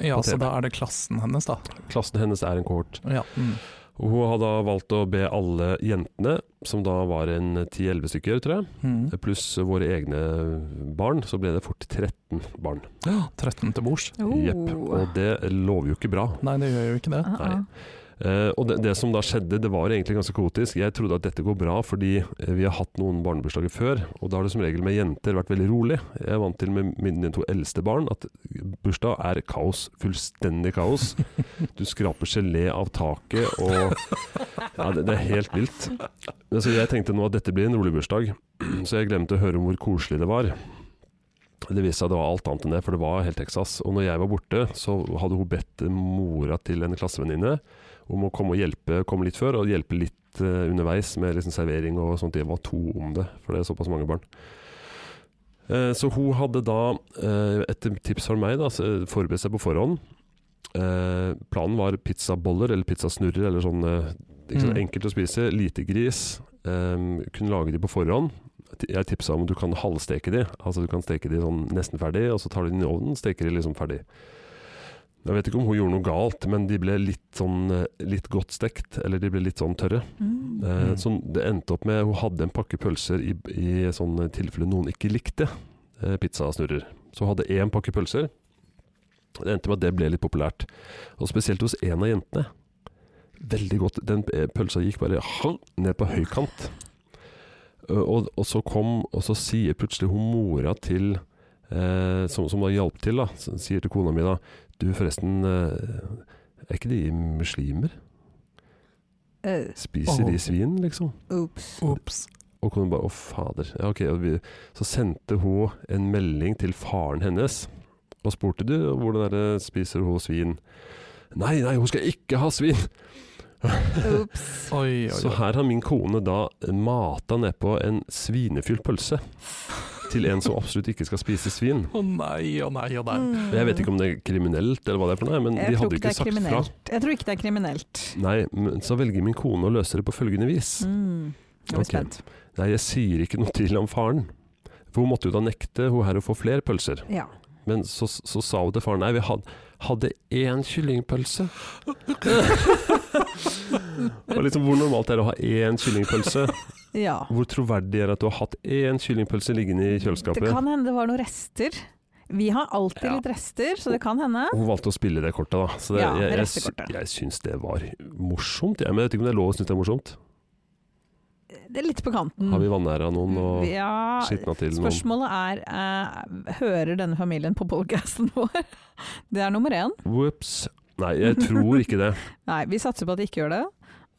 [SPEAKER 2] Ja,
[SPEAKER 1] på
[SPEAKER 2] så
[SPEAKER 1] TV.
[SPEAKER 2] da er det klassen hennes, da.
[SPEAKER 1] Klassen hennes er en kohort.
[SPEAKER 2] Ja. Mm.
[SPEAKER 1] Og Hun har da valgt å be alle jentene, som da var en 10-11 stykker, tror jeg,
[SPEAKER 2] Mm.
[SPEAKER 1] pluss våre egne barn, så ble det fort 13 barn.
[SPEAKER 2] Ja, 13 til bords.
[SPEAKER 3] Oh.
[SPEAKER 1] Jepp. Og det lover jo ikke bra.
[SPEAKER 2] Nei, det gjør jo ikke det.
[SPEAKER 3] Ah, ah.
[SPEAKER 1] Nei. Eh, og det, det som da skjedde, det var egentlig ganske kaotisk. Jeg trodde at dette går bra fordi eh, vi har hatt noen barnebursdager før, og da har det som regel med jenter vært veldig rolig. Jeg er vant til med mine to eldste barn at bursdag er kaos. Fullstendig kaos. Du skraper gelé av taket og Ja, det, det er helt vilt. Men Så jeg tenkte nå at dette blir en rolig bursdag, så jeg glemte å høre om hvor koselig det var. Det viste seg at det var alt annet enn det, for det var helt Texas. Og når jeg var borte, så hadde hun bedt mora til en klassevenninne om å komme og hjelpe, komme litt før og hjelpe litt eh, underveis med liksom servering og sånt. Jeg var to om det, for det er såpass mange barn. Eh, så hun hadde da, eh, etter tips fra meg, da, så forberedt seg på forhånd. Eh, planen var pizzaboller eller pizzasnurrer eller sånn eh, ikke sant,
[SPEAKER 2] Mm.
[SPEAKER 1] enkelt å spise, lite gris. Eh, kunne lage de på forhånd. Jeg tipsa om at du kan halvsteke de. Altså du kan steke de sånn nesten ferdig, og så tar du den i ovnen, steker de liksom ferdig. Jeg vet ikke om hun gjorde noe galt, men de ble litt sånn eh, litt godt stekt, eller de ble litt sånn tørre.
[SPEAKER 3] Mm.
[SPEAKER 1] Eh,
[SPEAKER 2] Mm.
[SPEAKER 1] Så det endte opp med hun hadde en pakke pølser i, i sånn tilfelle noen ikke likte eh, pizzasnurrer. Så hun hadde én pakke pølser. Det endte med at det ble litt populært. Og spesielt hos en av jentene. Veldig godt. Den eh, pølsa gikk bare hang ned på høykant. Eh, Og, og så kom, og så sier plutselig hun mora til eh, som, som da hjalp til, da, s- sier til kona mi da Du, forresten, eh, er ikke de muslimer?
[SPEAKER 3] Eh,
[SPEAKER 1] Spiser
[SPEAKER 2] Åh.
[SPEAKER 1] de svin, liksom?
[SPEAKER 3] Ops.
[SPEAKER 2] Ops.
[SPEAKER 1] Og kona bare 'Å, fader'. Ja, ok. Og vi, så sendte hun en melding til faren hennes og spurte du, hvordan er det spiser hun svin. Nei, nei, hun skal ikke ha svin!
[SPEAKER 3] Ops.
[SPEAKER 2] Oi, oi,
[SPEAKER 1] Så
[SPEAKER 2] oi.
[SPEAKER 1] her har min kone da mata nedpå en svinefylt pølse til en som absolutt ikke skal spise svin.
[SPEAKER 2] Å nei, å nei, å nei.
[SPEAKER 3] Mm.
[SPEAKER 1] Jeg vet ikke om det er kriminelt, eller hva det er for noe, men Mm,
[SPEAKER 3] Jeg
[SPEAKER 1] de
[SPEAKER 3] tror
[SPEAKER 1] hadde jo
[SPEAKER 3] ikke det
[SPEAKER 1] ikke
[SPEAKER 3] er
[SPEAKER 1] sagt fra.
[SPEAKER 3] kriminelt. Jeg tror ikke det er kriminelt.
[SPEAKER 1] Nei, men så velger min kone å løse det på følgende vis.
[SPEAKER 3] Mm. Jeg blir
[SPEAKER 1] Ok.
[SPEAKER 3] spent.
[SPEAKER 1] Nei, jeg sier ikke noe til om faren. For hun måtte jo da nekte hun her å få flere pølser.
[SPEAKER 3] Ja.
[SPEAKER 1] Men så, så sa hun til faren Nei, vi hadde, hadde én kyllingpølse. og liksom, Hvor normalt er det å ha én kyllingpølse?
[SPEAKER 3] ja.
[SPEAKER 1] Hvor troverdig er det at du har hatt én kyllingpølse liggende i
[SPEAKER 3] Det
[SPEAKER 1] kjøleskapet?
[SPEAKER 3] kan hende det var noen rester. Vi har alltid
[SPEAKER 1] Ja.
[SPEAKER 3] litt rester, så det kan hende.
[SPEAKER 1] Og Hun valgte å spille det kortet, da. Så det,
[SPEAKER 3] Ja,
[SPEAKER 1] jeg, jeg,
[SPEAKER 3] restekortet.
[SPEAKER 1] sy- jeg syns det var morsomt. Jeg, men jeg vet ikke om det er lov å synes det er morsomt.
[SPEAKER 3] Det er litt på kanten.
[SPEAKER 1] Har vi vanæra noen og
[SPEAKER 3] Mm. ja,
[SPEAKER 1] skitna til noen?
[SPEAKER 3] spørsmålet er eh, Hører denne familien på podcasten vår? Det er nummer én.
[SPEAKER 1] Whoops. Nei, jeg tror ikke det.
[SPEAKER 3] Nei, vi satser på at de ikke gjør det.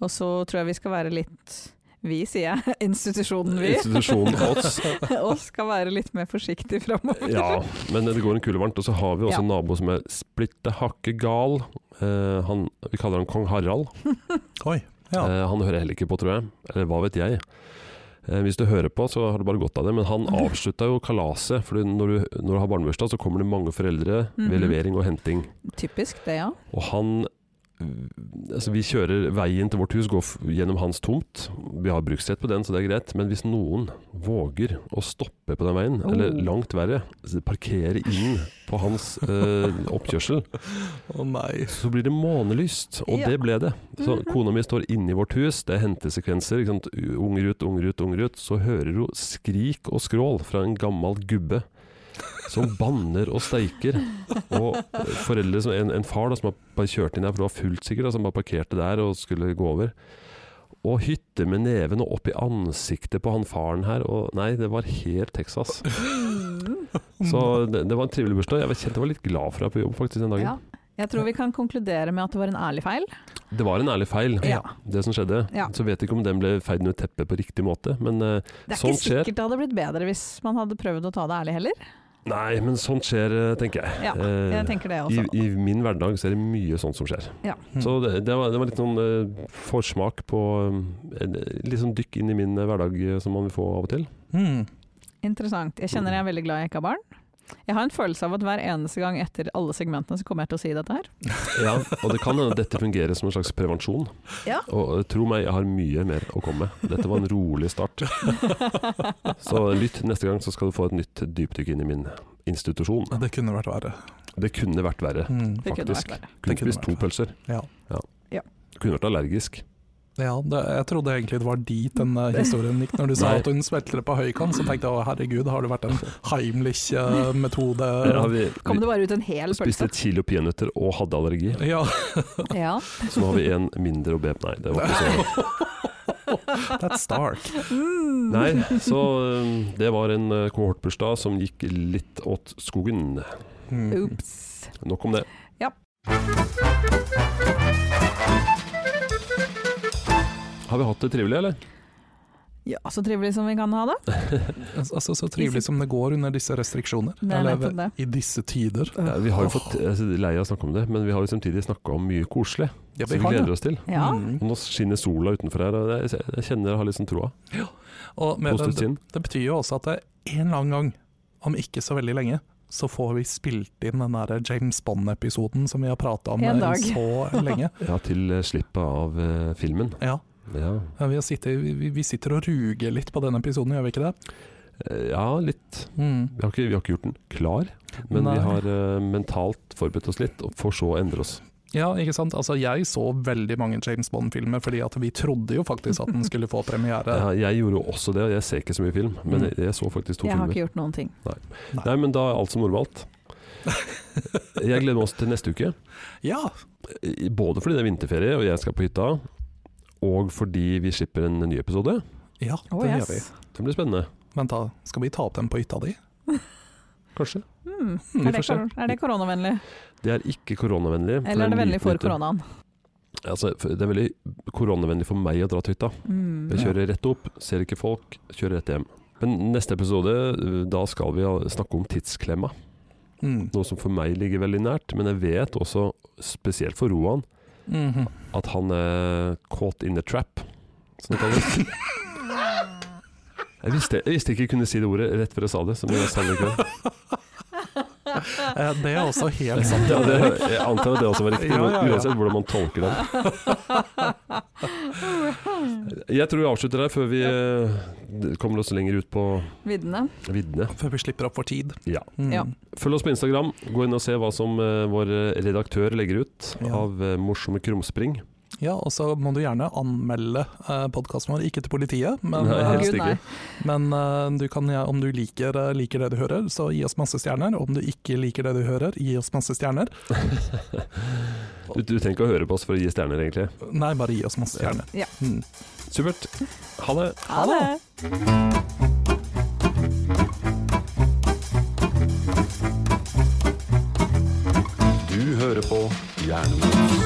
[SPEAKER 3] Og så tror jeg vi skal være litt Vi, sier jeg. Institusjonen vi.
[SPEAKER 1] Institusjonen Odds.
[SPEAKER 3] Og skal være litt mer forsiktige framover.
[SPEAKER 1] Ja, men det går en kule varmt. Og så har vi også
[SPEAKER 3] Ja.
[SPEAKER 1] en nabo som er splitte hakke gal. Eh, han, vi kaller han kong Harald.
[SPEAKER 2] Oi. Ja.
[SPEAKER 1] Eh, han hører heller ikke på, tror jeg. Eller hva vet jeg. Eh, hvis du hører på, så har du bare godt av det. Men han avslutta jo kalaset. For når, du- når du har barnebursdag, så kommer det mange foreldre ved
[SPEAKER 3] Mhm.
[SPEAKER 1] levering og henting.
[SPEAKER 3] Typisk det, ja.
[SPEAKER 1] Og han Altså Vi kjører veien til vårt hus, går f- gjennom hans tomt. Vi har bruksrett på den, så det er greit. Men hvis noen våger å stoppe på den veien,
[SPEAKER 3] Oh.
[SPEAKER 1] eller langt verre, s- parkere inn på hans eh, oppkjørsel,
[SPEAKER 2] Å nei.
[SPEAKER 1] så blir det månelyst. Og
[SPEAKER 3] Ja.
[SPEAKER 1] det ble det. Så
[SPEAKER 3] Mhm.
[SPEAKER 1] kona mi står inne i vårt hus, det er hentesekvenser. Ikke sant? Unger ut, unger ut, unger ut. Så hører hun skrik og skrål fra en gammel gubbe. Som banner og steiker. Og eh, foreldre som, en, en far da, som har bare kjørt inn her, for det var fullt sikkert, da, som bare parkerte der og skulle gå over. Og hytte med neven og opp i ansiktet på han faren her. Og nei, det var helt Texas. Så det, det var en trivelig bursdag. Jeg var kjent jeg var litt glad for å være på jobb faktisk den dagen.
[SPEAKER 3] ja. Jeg tror vi kan konkludere med at det var en ærlig feil.
[SPEAKER 1] Det var en ærlig feil,
[SPEAKER 3] Ja.
[SPEAKER 1] det som skjedde.
[SPEAKER 3] Ja.
[SPEAKER 1] Så vet jeg ikke om den ble feid under teppet på riktig måte, men eh,
[SPEAKER 3] Det er
[SPEAKER 1] Sånt
[SPEAKER 3] ikke
[SPEAKER 1] skjer.
[SPEAKER 3] sikkert det hadde blitt bedre hvis man hadde prøvd å ta det ærlig heller.
[SPEAKER 1] Nei, men sånt skjer, eh, tenker jeg.
[SPEAKER 3] Ja,
[SPEAKER 1] Eh,
[SPEAKER 3] Jeg tenker det
[SPEAKER 1] i,
[SPEAKER 3] også.
[SPEAKER 1] I min hverdag så er det mye sånt som skjer. Så det, det, var, det var litt sånn eh, forsmak på eh, en- Litt sånn dykk inn i min eh, hverdag eh, som man vil få av og til.
[SPEAKER 2] Mm.
[SPEAKER 3] Interessant. Jeg kjenner jeg er veldig glad jeg ikke har barn. Jeg har en følelse av at hver eneste gang etter alle segmentene så kommer jeg til å si dette her.
[SPEAKER 1] Ja, og det kan hende dette fungerer som en slags prevensjon.
[SPEAKER 3] Ja.
[SPEAKER 1] Og eh, tro meg, jeg har mye mer å komme med. Dette var en rolig start. Så lytt neste gang, så skal du få et nytt dypdykk inn i min institusjon.
[SPEAKER 2] Ja, Det kunne vært verre.
[SPEAKER 1] Det kunne vært verre.
[SPEAKER 2] Mm.
[SPEAKER 3] Det kunne
[SPEAKER 1] Faktisk.
[SPEAKER 3] vært verre.
[SPEAKER 1] Kunne
[SPEAKER 2] Det kunne
[SPEAKER 1] spist to
[SPEAKER 2] vært
[SPEAKER 1] pølser.
[SPEAKER 2] Ja.
[SPEAKER 1] Du kunne vært allergisk.
[SPEAKER 2] Ja, det, jeg trodde egentlig det var dit den eh, historien gikk. Når du sa
[SPEAKER 1] Nei.
[SPEAKER 2] at hun svelter det på høykant, så tenkte jeg å herregud, har det vært en Heimlich-metode?
[SPEAKER 1] Ja, vi,
[SPEAKER 3] Kom det bare ut en
[SPEAKER 1] vi
[SPEAKER 3] hel
[SPEAKER 1] spiste
[SPEAKER 3] pølse?
[SPEAKER 1] et kilo peanøtter og hadde allergi,
[SPEAKER 2] Ja,
[SPEAKER 3] Ja.
[SPEAKER 1] så nå har vi en mindre å be Nei, det var ikke så
[SPEAKER 2] that's dark.
[SPEAKER 3] Mm.
[SPEAKER 1] Nei, så um, det var en uh, kohortbursdag som gikk litt åt skogen.
[SPEAKER 2] Mm.
[SPEAKER 3] Ops.
[SPEAKER 1] Nok om det.
[SPEAKER 3] Ja.
[SPEAKER 1] Har vi hatt det trivelig, eller?
[SPEAKER 3] Ja, så trivelig som vi kan ha det.
[SPEAKER 2] Altså, så trivelig som det går under disse restriksjoner.
[SPEAKER 3] Det er
[SPEAKER 2] Eller
[SPEAKER 3] nettopp det.
[SPEAKER 2] i disse tider.
[SPEAKER 1] Ja, vi har jo fått jeg er lei av å snakke om det, men vi har jo samtidig snakka om mye koselig.
[SPEAKER 2] Ja,
[SPEAKER 1] Så vi
[SPEAKER 2] har det.
[SPEAKER 1] gleder oss til.
[SPEAKER 3] Ja.
[SPEAKER 2] Mm.
[SPEAKER 1] Og nå skinner sola utenfor her, og jeg jeg kjenner jeg har litt sånn troa.
[SPEAKER 2] Og med
[SPEAKER 1] Positivt
[SPEAKER 2] det,
[SPEAKER 1] sinn.
[SPEAKER 2] det betyr jo også at det en eller annen gang, om ikke så veldig lenge, så får vi spilt inn den der James Bond-episoden som vi har prata om
[SPEAKER 3] En
[SPEAKER 2] eh,
[SPEAKER 3] dag.
[SPEAKER 2] så lenge.
[SPEAKER 1] Ja, til eh, slippet av eh, filmen.
[SPEAKER 2] Ja,
[SPEAKER 1] Ja.
[SPEAKER 2] ja, vi, har sittet, vi- vi, vi sitter og ruger litt på den episoden, gjør vi ikke det?
[SPEAKER 1] Eh, ja, litt.
[SPEAKER 2] Mm.
[SPEAKER 1] Vi har, ikke, vi har ikke gjort den klar, men
[SPEAKER 2] Nei.
[SPEAKER 1] vi har eh, mentalt forberedt oss litt, og for så å endre oss.
[SPEAKER 2] Ja, ikke sant. Altså, jeg så veldig mange James Bond-filmer, fordi at vi trodde jo faktisk at den skulle få premiere.
[SPEAKER 1] Ja, jeg gjorde jo også det, og jeg ser ikke så mye film, men
[SPEAKER 2] Mm.
[SPEAKER 1] jeg, jeg så faktisk to
[SPEAKER 3] Jeg har
[SPEAKER 1] filmer.
[SPEAKER 3] ikke gjort noen ting.
[SPEAKER 1] Nei, men da er alt som normalt. Jeg gleder meg også til neste uke,
[SPEAKER 2] Ja!
[SPEAKER 1] i- både fordi det er vinterferie og jeg skal på hytta, og fordi vi slipper en ny episode.
[SPEAKER 2] Ja, det
[SPEAKER 3] Oh,
[SPEAKER 2] gjør vi.
[SPEAKER 3] yes.
[SPEAKER 1] Det blir spennende,
[SPEAKER 2] Vent da, skal vi ta opp den på hytta di?
[SPEAKER 1] kanskje.
[SPEAKER 3] Mm.
[SPEAKER 2] Vi
[SPEAKER 3] Er,
[SPEAKER 2] får
[SPEAKER 3] det,
[SPEAKER 2] se.
[SPEAKER 3] kor- er det koronavennlig,
[SPEAKER 1] Det er ikke koronavennlig. for
[SPEAKER 3] eller er det
[SPEAKER 1] en
[SPEAKER 3] vennlig for
[SPEAKER 1] liten hytte.
[SPEAKER 3] koronaen?
[SPEAKER 1] Altså, for- det er veldig koronavennlig for meg å dra til hytta.
[SPEAKER 3] Mm.
[SPEAKER 1] Jeg kjører rett opp, ser ikke folk, kjører rett hjem. Men neste episode, eh, da skal vi ha- snakke om tidsklemma.
[SPEAKER 2] Mm.
[SPEAKER 1] Noe som for meg ligger veldig nært, men jeg vet også, spesielt for Roan,
[SPEAKER 2] Mhm.
[SPEAKER 1] at han er caught in the trap, som det kalles. Jeg visste, jeg visste ikke jeg kunne si det ordet rett før jeg sa det. Som jeg sa det ikke.
[SPEAKER 2] Eh, Det er også helt sant.
[SPEAKER 1] Ja, det, jeg antar at det også var riktig,
[SPEAKER 2] Ja, ja, ja.
[SPEAKER 1] uansett hvordan man tolker den. Jeg tror vi avslutter der før vi eh, kommer oss lenger ut på
[SPEAKER 3] Viddene.
[SPEAKER 1] viddene.
[SPEAKER 2] Før vi slipper opp for tid.
[SPEAKER 1] Ja.
[SPEAKER 2] Mm.
[SPEAKER 3] Ja.
[SPEAKER 1] Følg oss på Instagram. Gå inn og se hva som eh, vår redaktør legger ut
[SPEAKER 2] Ja.
[SPEAKER 1] av eh, morsomme krumspring.
[SPEAKER 2] Ja, og så må du gjerne anmelde eh, podkasten vår, ikke til politiet, men,
[SPEAKER 1] Nei,
[SPEAKER 2] eh,
[SPEAKER 1] helst
[SPEAKER 3] Gud, nei.
[SPEAKER 1] ikke.
[SPEAKER 2] men eh, du kan, ja, om du liker, eh, liker det du hører, så gi oss masse stjerner. Om du ikke liker det du hører, gi oss masse stjerner.
[SPEAKER 1] Du, du trenger ikke å høre på oss for å gi stjerner, egentlig.
[SPEAKER 2] Nei, bare gi oss masse stjerner.
[SPEAKER 3] Ja.
[SPEAKER 2] Mm.
[SPEAKER 1] Supert. Ha det.
[SPEAKER 3] Ha det!
[SPEAKER 1] Du hører på Jernbanen.